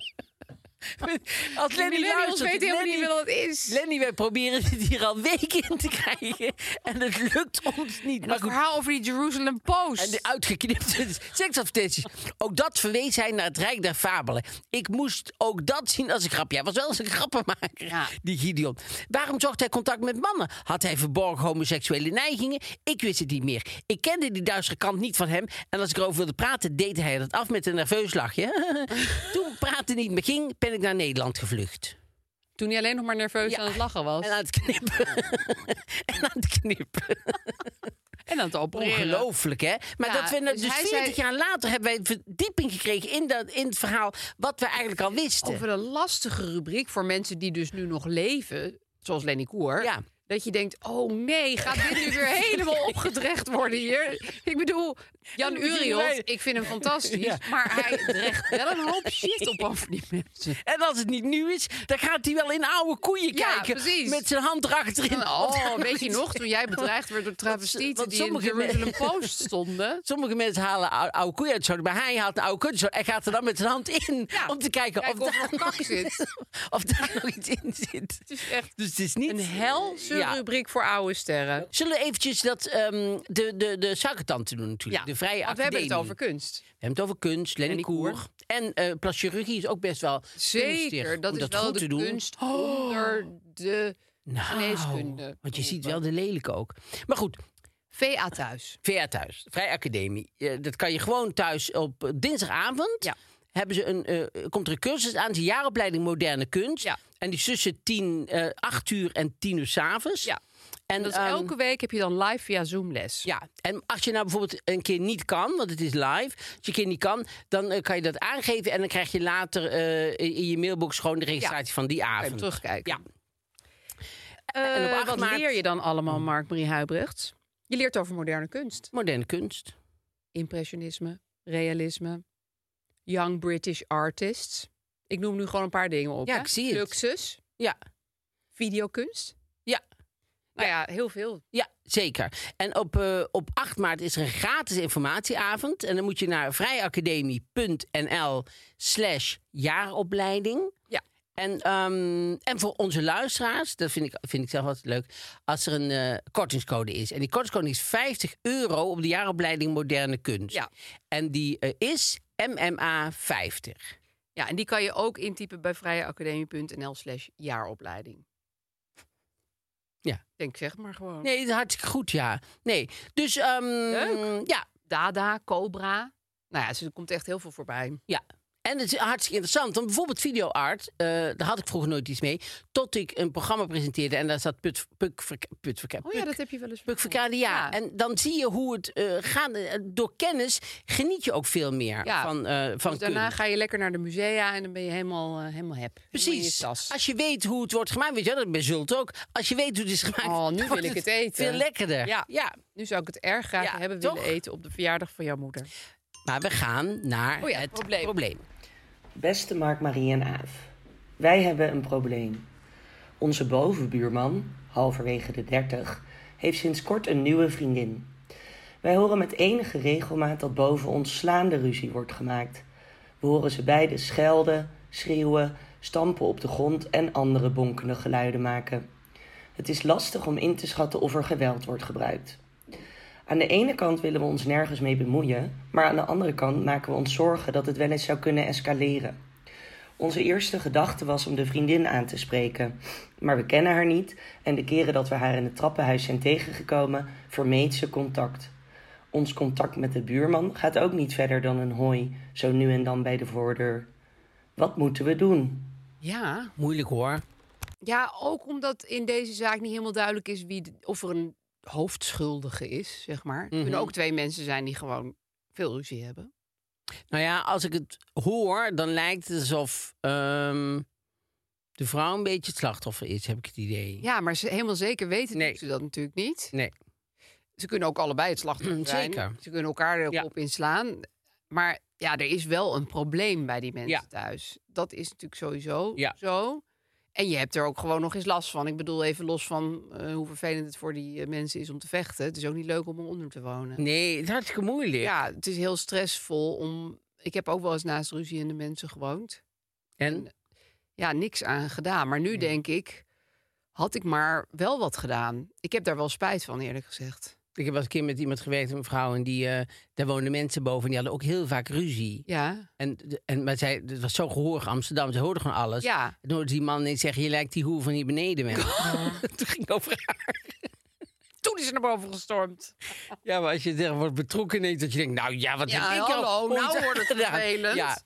Speaker 3: Als
Speaker 2: Die
Speaker 3: Lenny
Speaker 2: millennials
Speaker 3: luistert,
Speaker 2: weten helemaal
Speaker 3: Lenny,
Speaker 2: niet meer wat het is.
Speaker 3: Lenny, wij proberen dit hier al weken in te krijgen. En het lukt ons niet.
Speaker 2: en
Speaker 3: maar
Speaker 2: het
Speaker 3: goed,
Speaker 2: verhaal over die Jerusalem Post.
Speaker 3: En de uitgeknipte seksadvertenties. Ook dat verwees hij naar het Rijk der Fabelen. Ik moest ook dat zien als een grap. Jij was wel eens een grappenmaker,
Speaker 2: Ja.
Speaker 3: die Gideon. Waarom zocht hij contact met mannen? Had hij verborgen homoseksuele neigingen? Ik wist het niet meer. Ik kende die duistere kant niet van hem. En als ik erover wilde praten, deed hij dat af met een nerveus lachje. Toen praten niet meer ging, ben ik naar Nederland gevlucht.
Speaker 2: Toen hij alleen nog maar nerveus
Speaker 3: Ja.
Speaker 2: aan het lachen was.
Speaker 3: En aan het knippen. en aan het knippen.
Speaker 2: En aan het opereren.
Speaker 3: Ongelooflijk, hè? Maar
Speaker 2: Ja,
Speaker 3: dat we nou,
Speaker 2: dus
Speaker 3: dus
Speaker 2: hij
Speaker 3: 40
Speaker 2: zei-
Speaker 3: jaar later hebben wij verdieping gekregen in, dat, in het verhaal wat we eigenlijk al wisten.
Speaker 2: Over een lastige rubriek voor mensen die dus nu nog leven. Zoals Lenny Koer.
Speaker 3: Ja.
Speaker 2: Dat je denkt, oh nee, gaat dit nu weer helemaal opgedrecht worden hier? Ik bedoel, Jan Uriot, ik vind hem fantastisch. Maar hij dreigt wel een hoop shit op over die mensen.
Speaker 3: En als het niet nu is, dan gaat hij wel in oude koeien
Speaker 2: Ja,
Speaker 3: kijken.
Speaker 2: precies.
Speaker 3: Met zijn hand erachterin.
Speaker 2: Oh, weet je nog, toen jij bedreigd werd door travestieten
Speaker 3: want
Speaker 2: die in de
Speaker 3: sommige me-
Speaker 2: Jerusalem Post stonden.
Speaker 3: Sommige mensen halen ou- oude koeien uit zoden, maar hij haalt een oude koe uit de zoden en gaat er dan met zijn hand in
Speaker 2: Ja,
Speaker 3: om te kijken of,
Speaker 2: kijk of er
Speaker 3: daar
Speaker 2: een
Speaker 3: nog
Speaker 2: kak
Speaker 3: iets- of daar nog iets in zit.
Speaker 2: Het is echt
Speaker 3: Dus het is niet
Speaker 2: een helse de
Speaker 3: Ja.
Speaker 2: rubriek voor oude sterren.
Speaker 3: Zullen we eventjes dat, ehm, de, de, de suikertante doen natuurlijk. de vrije
Speaker 2: want we
Speaker 3: academie.
Speaker 2: hebben het over kunst.
Speaker 3: We hebben het over kunst, Lenny
Speaker 2: Lenny
Speaker 3: Koer.
Speaker 2: Koer.
Speaker 3: En eh plaschirurgie is ook best wel
Speaker 2: Zeker,
Speaker 3: kunstig
Speaker 2: dat
Speaker 3: om
Speaker 2: is
Speaker 3: dat
Speaker 2: wel
Speaker 3: goed
Speaker 2: de
Speaker 3: te doen. Oh.
Speaker 2: kunst onder de
Speaker 3: Nou,
Speaker 2: geneeskunde. Mm.
Speaker 3: want je ziet wel de lelijke ook. Maar goed,
Speaker 2: VA thuis.
Speaker 3: VR thuis, Vrij Academie. Eh, dat kan je gewoon thuis op eh, dinsdagavond.
Speaker 2: Ja.
Speaker 3: Hebben ze een, eh, komt er een cursus aan, de jaaropleiding Moderne Kunst.
Speaker 2: Ja.
Speaker 3: En die is tussen tien, eh, acht uur en tien uur s'avonds.
Speaker 2: Ja.
Speaker 3: En,
Speaker 2: En dat is
Speaker 3: ehm,
Speaker 2: elke week heb je dan live via Zoom les.
Speaker 3: Ja, en als je nou bijvoorbeeld een keer niet kan, want het is live, als je een keer niet kan, dan eh, kan je dat aangeven en dan krijg je later eh, in je mailbox gewoon de registratie van die
Speaker 2: Kan je
Speaker 3: avond.
Speaker 2: hem terugkijken.
Speaker 3: Ja.
Speaker 2: Eh,
Speaker 3: En op 8
Speaker 2: wat
Speaker 3: maart- Mm.
Speaker 2: leer je dan allemaal, Mark Marie Huibrechts? Je leert over moderne kunst.
Speaker 3: Moderne kunst.
Speaker 2: Impressionisme, realisme, young British artists. Ik noem nu gewoon een paar dingen op.
Speaker 3: Ja,
Speaker 2: hè?
Speaker 3: ik zie het.
Speaker 2: Fluxus,
Speaker 3: Ja,
Speaker 2: videokunst.
Speaker 3: ja,
Speaker 2: Nou ja, heel veel.
Speaker 3: ja, zeker. En op, eh, op 8 maart is er een gratis informatieavond. En dan moet je naar vrijacademie.nl slash jaaropleiding.
Speaker 2: Ja.
Speaker 3: En, ehm, en voor onze luisteraars, dat vind ik, vind ik zelf altijd leuk, als er een eh, kortingscode is. En die kortingscode is 50 euro op de jaaropleiding Moderne Kunst.
Speaker 2: Ja.
Speaker 3: En die eh, is MMA50.
Speaker 2: Ja, en die kan je ook intypen bij vrijeacademie.nl slash jaaropleiding.
Speaker 3: Ja.
Speaker 2: Ik Denk, zeg maar gewoon.
Speaker 3: Nee, dat is hartstikke goed, ja. Nee, dus ehm,
Speaker 2: Leuk.
Speaker 3: ja,
Speaker 2: Dada, Cobra. Nou ja, ze er komt echt heel veel voorbij.
Speaker 3: Ja. En het is hartstikke interessant. Want bijvoorbeeld videoart, eh daar had ik vroeger nooit iets mee. Tot ik een programma presenteerde en daar zat Puk, Puk, Verk- Puk, Verk-
Speaker 2: Oh ja,
Speaker 3: Puk-
Speaker 2: dat heb je wel eens
Speaker 3: Puk Verkade, ja.
Speaker 2: Ja.
Speaker 3: En dan zie je hoe het eh gaat. Eh, Door kennis geniet je ook veel meer
Speaker 2: Ja.
Speaker 3: van, eh van
Speaker 2: Dus daarna
Speaker 3: kunst.
Speaker 2: ga je lekker naar de musea en dan ben je helemaal, eh, helemaal heb.
Speaker 3: Precies.
Speaker 2: tas.
Speaker 3: Als je weet hoe het wordt gemaakt, weet je, wel, dat bij Zult ook. Als je weet hoe het is gemaakt,
Speaker 2: Oh,
Speaker 3: dan
Speaker 2: nu wil
Speaker 3: wordt
Speaker 2: ik het eten.
Speaker 3: Veel lekkerder.
Speaker 2: Ja.
Speaker 3: ja.
Speaker 2: Nu zou ik het erg graag
Speaker 3: Ja,
Speaker 2: hebben
Speaker 3: toch?
Speaker 2: willen eten op de verjaardag van jouw moeder.
Speaker 3: Maar we gaan naar
Speaker 2: Oh ja,
Speaker 3: het
Speaker 2: probleem.
Speaker 3: probleem.
Speaker 5: Beste Mark, Marie en Aaf. Wij hebben een probleem. Onze bovenbuurman, halverwege de 30, heeft sinds kort een nieuwe vriendin. Wij horen met enige regelmaat dat boven ons slaande ruzie wordt gemaakt. We horen ze beiden schelden, schreeuwen, stampen op de grond en andere bonkende geluiden maken. Het is lastig om in te schatten of er geweld wordt gebruikt. Aan de ene kant willen we ons nergens mee bemoeien, maar aan de andere kant maken we ons zorgen dat het wel eens zou kunnen escaleren. Onze eerste gedachte was om de vriendin aan te spreken, maar we kennen haar niet en de keren dat we haar in het trappenhuis zijn tegengekomen, vermeed ze contact. Ons contact met de buurman gaat ook niet verder dan een hooi, zo nu en dan bij de voordeur. Wat moeten we doen?
Speaker 2: Ja.
Speaker 3: Moeilijk hoor.
Speaker 2: Ja, ook omdat in deze zaak niet helemaal duidelijk is wie de- of er een hoofdschuldige is, zeg maar. Er
Speaker 3: Mhm.
Speaker 2: kunnen ook twee mensen zijn die gewoon veel ruzie hebben.
Speaker 3: Nou ja, als ik het hoor, dan lijkt het alsof ehm, de vrouw een beetje het slachtoffer is, heb ik het idee.
Speaker 2: Ja, maar ze helemaal zeker weten
Speaker 3: Nee.
Speaker 2: doen ze dat natuurlijk niet.
Speaker 3: Nee.
Speaker 2: Ze kunnen ook allebei het slachtoffer zijn.
Speaker 3: Mm, Zeker.
Speaker 2: Ze kunnen elkaar er ook
Speaker 3: Ja.
Speaker 2: op inslaan. Maar ja, er is wel een probleem bij die mensen
Speaker 3: Ja.
Speaker 2: thuis. Dat is natuurlijk sowieso
Speaker 3: Ja.
Speaker 2: zo. En je hebt er ook gewoon nog eens last van. Ik bedoel, even los van eh, hoe vervelend het voor die eh, mensen is om te vechten. Het is ook niet leuk om eronder te wonen.
Speaker 3: Nee, het is hartstikke moeilijk.
Speaker 2: Ja, het is heel stressvol om... Ik heb ook wel eens naast ruzie in de mensen gewoond.
Speaker 3: En
Speaker 2: Ja, niks aan gedaan. Maar nu denk ik, had ik maar wel wat gedaan. Ik heb daar wel spijt van, eerlijk gezegd.
Speaker 3: ik heb wel eens een keer met iemand gewerkt, een vrouw, en die, eh, daar woonden mensen boven en die hadden ook heel vaak ruzie.
Speaker 2: Ja,
Speaker 3: En, de- en, maar zij, het was zo gehoorig Amsterdam, ze hoorden gewoon alles.
Speaker 2: ja.
Speaker 3: En toen hoorde die man ineens zeggen, je lijkt die hoer van hier beneden. man. toen ging het over haar.
Speaker 2: Toen is ze naar boven gestormd.
Speaker 3: Ja, maar als je er wordt betrokken ineens, dat je denkt, nou ja, wat
Speaker 2: Ja,
Speaker 3: heb ik
Speaker 2: hallo,
Speaker 3: ooit
Speaker 2: nou
Speaker 3: aan
Speaker 2: wordt het
Speaker 3: gedaan?
Speaker 2: vervelend.
Speaker 3: Ja.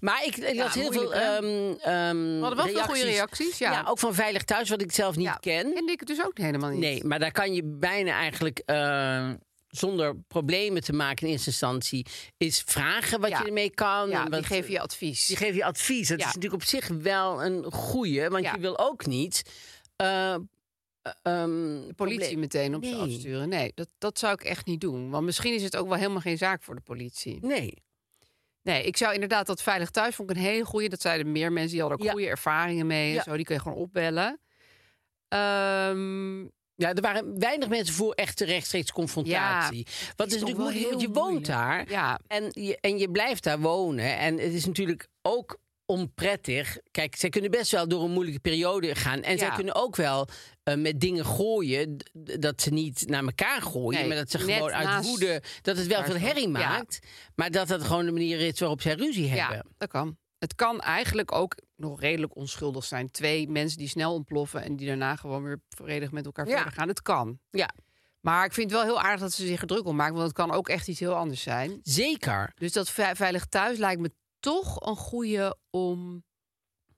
Speaker 3: Maar ik, ik
Speaker 2: Ja,
Speaker 3: las heel veel
Speaker 2: moeilijk, hè?
Speaker 3: ehm, ehm,
Speaker 2: We hadden wel veel goede reacties, ja.
Speaker 3: ook van Veilig Thuis, wat ik zelf niet
Speaker 2: Ja.
Speaker 3: ken.
Speaker 2: En ik het dus ook helemaal niet.
Speaker 3: Nee, maar daar kan je bijna eigenlijk eh, zonder problemen te maken in eerste instantie... is vragen wat
Speaker 2: Ja.
Speaker 3: je ermee kan.
Speaker 2: ja,
Speaker 3: en
Speaker 2: die
Speaker 3: wat-
Speaker 2: geven je advies.
Speaker 3: die geven je advies. Dat
Speaker 2: Ja.
Speaker 3: is natuurlijk op zich wel een goeie, want
Speaker 2: Ja.
Speaker 3: je wil ook niet... eh, eh, ehm,
Speaker 2: de politie
Speaker 3: probleem-
Speaker 2: meteen op ze
Speaker 3: Nee.
Speaker 2: afsturen. Nee, dat, dat zou ik echt niet doen. Want misschien is het ook wel helemaal geen zaak voor de politie.
Speaker 3: Nee.
Speaker 2: Nee, ik zou inderdaad dat veilig thuis vond ik een hele goede. Dat zeiden meer mensen die hadden ook
Speaker 3: Ja.
Speaker 2: goede ervaringen mee en
Speaker 3: Ja.
Speaker 2: zo. Die kun je gewoon opbellen. Ehm,
Speaker 3: Ja, er waren weinig mensen voor echte rechtstreeks confrontatie. Wat
Speaker 2: is
Speaker 3: is
Speaker 2: toch
Speaker 3: natuurlijk
Speaker 2: wel
Speaker 3: moeilijk, want je
Speaker 2: heel
Speaker 3: woont
Speaker 2: moeilijk.
Speaker 3: daar
Speaker 2: ja,
Speaker 3: en je, en je blijft daar wonen. En het is natuurlijk ook onprettig. Kijk, zij kunnen best wel door een moeilijke periode gaan. En zij
Speaker 2: Ja.
Speaker 3: kunnen ook wel eh, met dingen gooien. d- d- Dat ze niet naar elkaar gooien.
Speaker 2: Nee,
Speaker 3: maar dat ze
Speaker 2: net
Speaker 3: gewoon uit
Speaker 2: naast
Speaker 3: woede. Dat het wel
Speaker 2: elkaar
Speaker 3: veel
Speaker 2: staan.
Speaker 3: herrie
Speaker 2: Ja.
Speaker 3: maakt. Maar dat dat gewoon de manier is waarop zij ruzie
Speaker 2: Ja,
Speaker 3: hebben.
Speaker 2: dat kan. Het kan eigenlijk ook nog redelijk onschuldig zijn. Twee mensen die snel ontploffen en die daarna gewoon weer vredig met elkaar
Speaker 3: Ja.
Speaker 2: verder gaan. Het kan.
Speaker 3: Ja,
Speaker 2: Maar ik vind het wel heel aardig dat ze zich er druk om maken, want het kan ook echt iets heel anders zijn.
Speaker 3: zeker.
Speaker 2: Dus dat ve- veilig thuis lijkt me toch een goede om,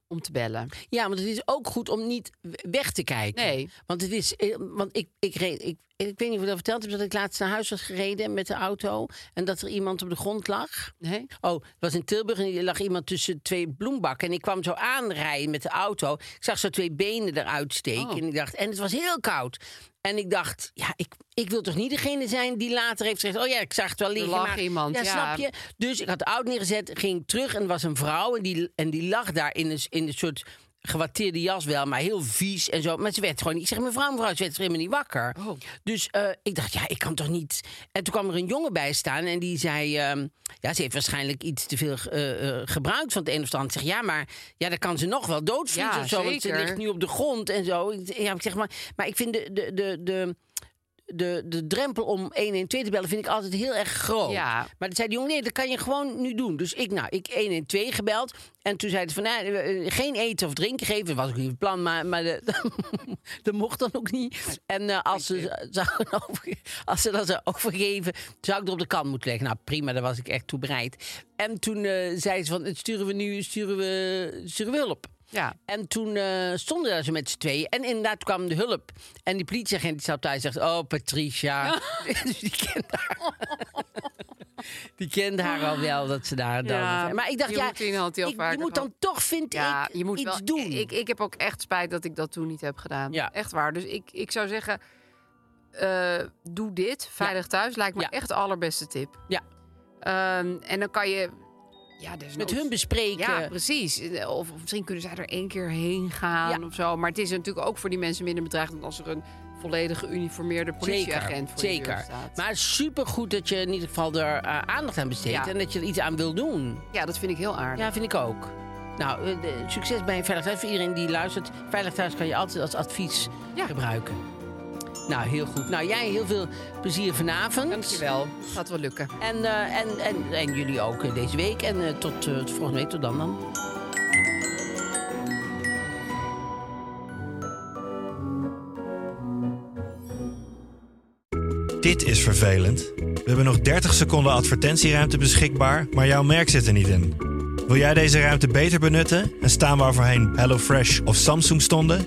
Speaker 2: om te bellen.
Speaker 3: Ja, want het is ook goed om niet weg te kijken.
Speaker 2: Nee.
Speaker 3: Want het is. eh, Want ik, ik, reed, ik, ik weet niet of ik dat verteld heb. Dat ik laatst naar huis was gereden met de auto. En dat er iemand op de grond lag.
Speaker 2: Nee?
Speaker 3: Oh, het was in Tilburg en er lag iemand tussen twee bloembakken. En ik kwam zo aanrijden met de auto. Ik zag zo twee benen eruit steken.
Speaker 2: Oh.
Speaker 3: En ik dacht, en het was heel koud. En ik dacht, ja, ik, ik wil toch niet degene zijn die later heeft gezegd... oh ja, ik zag het wel liggen.
Speaker 2: lag
Speaker 3: maar-
Speaker 2: iemand, ja.
Speaker 3: snap je? Dus ik had de auto neergezet, ging terug en er was een vrouw... en die, en die lag daar in een, s- in een soort gewatteerde jas wel, maar heel vies en zo. Maar ze werd gewoon niet... Ik zeg, mevrouw, mevrouw, ze werd helemaal niet wakker.
Speaker 2: Oh.
Speaker 3: Dus eh, ik dacht, ja, ik kan toch niet... En toen kwam er een jongen bij staan en die zei... ehm, ja, ze heeft waarschijnlijk iets te veel eh, eh, gebruikt van het een of het ander. Ik zeg, ja, maar ja, dan kan ze nog wel doodvriezen
Speaker 2: Ja,
Speaker 3: of zo. Want ze
Speaker 2: zeker.
Speaker 3: ligt nu op de grond en zo. Ik, ja, ik zeg maar, maar ik vind de... de, de, de de, de drempel om 112 te bellen vind ik altijd heel erg groot.
Speaker 2: Ja.
Speaker 3: Maar toen zei de jongen, nee, dat kan je gewoon nu doen. Dus ik, nou, ik 112 gebeld. En toen zei ze van, nou, eh, eh, geen eten of drinken geven. Dat was ook niet het plan, maar, maar de, dat mocht dan ook niet. En eh, als, ze, zouden over, als ze dat zou overgeven, zou ik er op de kant moeten leggen. Nou, prima, daar was ik echt toe bereid. En toen eh, zei ze van, het sturen we nu, sturen we, sturen we hulp.
Speaker 2: Ja.
Speaker 3: En toen eh, stonden daar ze met z'n tweeën. En inderdaad kwam de hulp. En die politieagent die zat thuis en zegt... Oh, Patricia. dus die kent haar. die kent haar al wel, dat ze daar...
Speaker 2: Ja,
Speaker 3: dan... Maar ik dacht,
Speaker 2: je
Speaker 3: ja,
Speaker 2: moet die hand heel
Speaker 3: ik- je
Speaker 2: vaker
Speaker 3: moet dan toch, vind
Speaker 2: Ja,
Speaker 3: ik,
Speaker 2: je moet
Speaker 3: iets
Speaker 2: wel,
Speaker 3: doen.
Speaker 2: Ik, ik heb ook echt spijt dat ik dat toen niet heb gedaan.
Speaker 3: Ja.
Speaker 2: Echt waar. Dus ik, ik zou zeggen, eh, doe dit. Veilig thuis lijkt me
Speaker 3: Ja.
Speaker 2: echt de allerbeste tip.
Speaker 3: Ja.
Speaker 2: Ehm, en dan kan je... Ja, dus
Speaker 3: Met hun bespreken.
Speaker 2: Ja, precies. Of, of misschien kunnen zij er één keer heen gaan
Speaker 3: Ja.
Speaker 2: of zo. Maar het is natuurlijk ook voor die mensen minder bedreigend als er een volledig geuniformeerde politieagent voor je deur
Speaker 3: zeker.
Speaker 2: staat.
Speaker 3: Maar supergoed dat je in ieder geval er eh, aandacht aan besteedt.
Speaker 2: Ja.
Speaker 3: En dat je er iets aan wil doen.
Speaker 2: Ja, dat vind ik heel aardig.
Speaker 3: Ja, vind ik ook. Nou, eh, de- succes bij Veilig Thuis. Voor iedereen die luistert, Veilig Thuis kan je altijd als advies
Speaker 2: Ja.
Speaker 3: gebruiken. Nou, heel goed. Nou, jij heel veel plezier vanavond.
Speaker 2: Dankjewel. Gaat wel lukken.
Speaker 3: En, eh, en, en, en jullie ook eh, deze week. En eh, tot eh, volgende week. Tot dan dan.
Speaker 6: Dit is vervelend. We hebben nog 30 seconden advertentieruimte beschikbaar, maar jouw merk zit er niet in. Wil jij deze ruimte beter benutten en staan waar voorheen HelloFresh of Samsung stonden?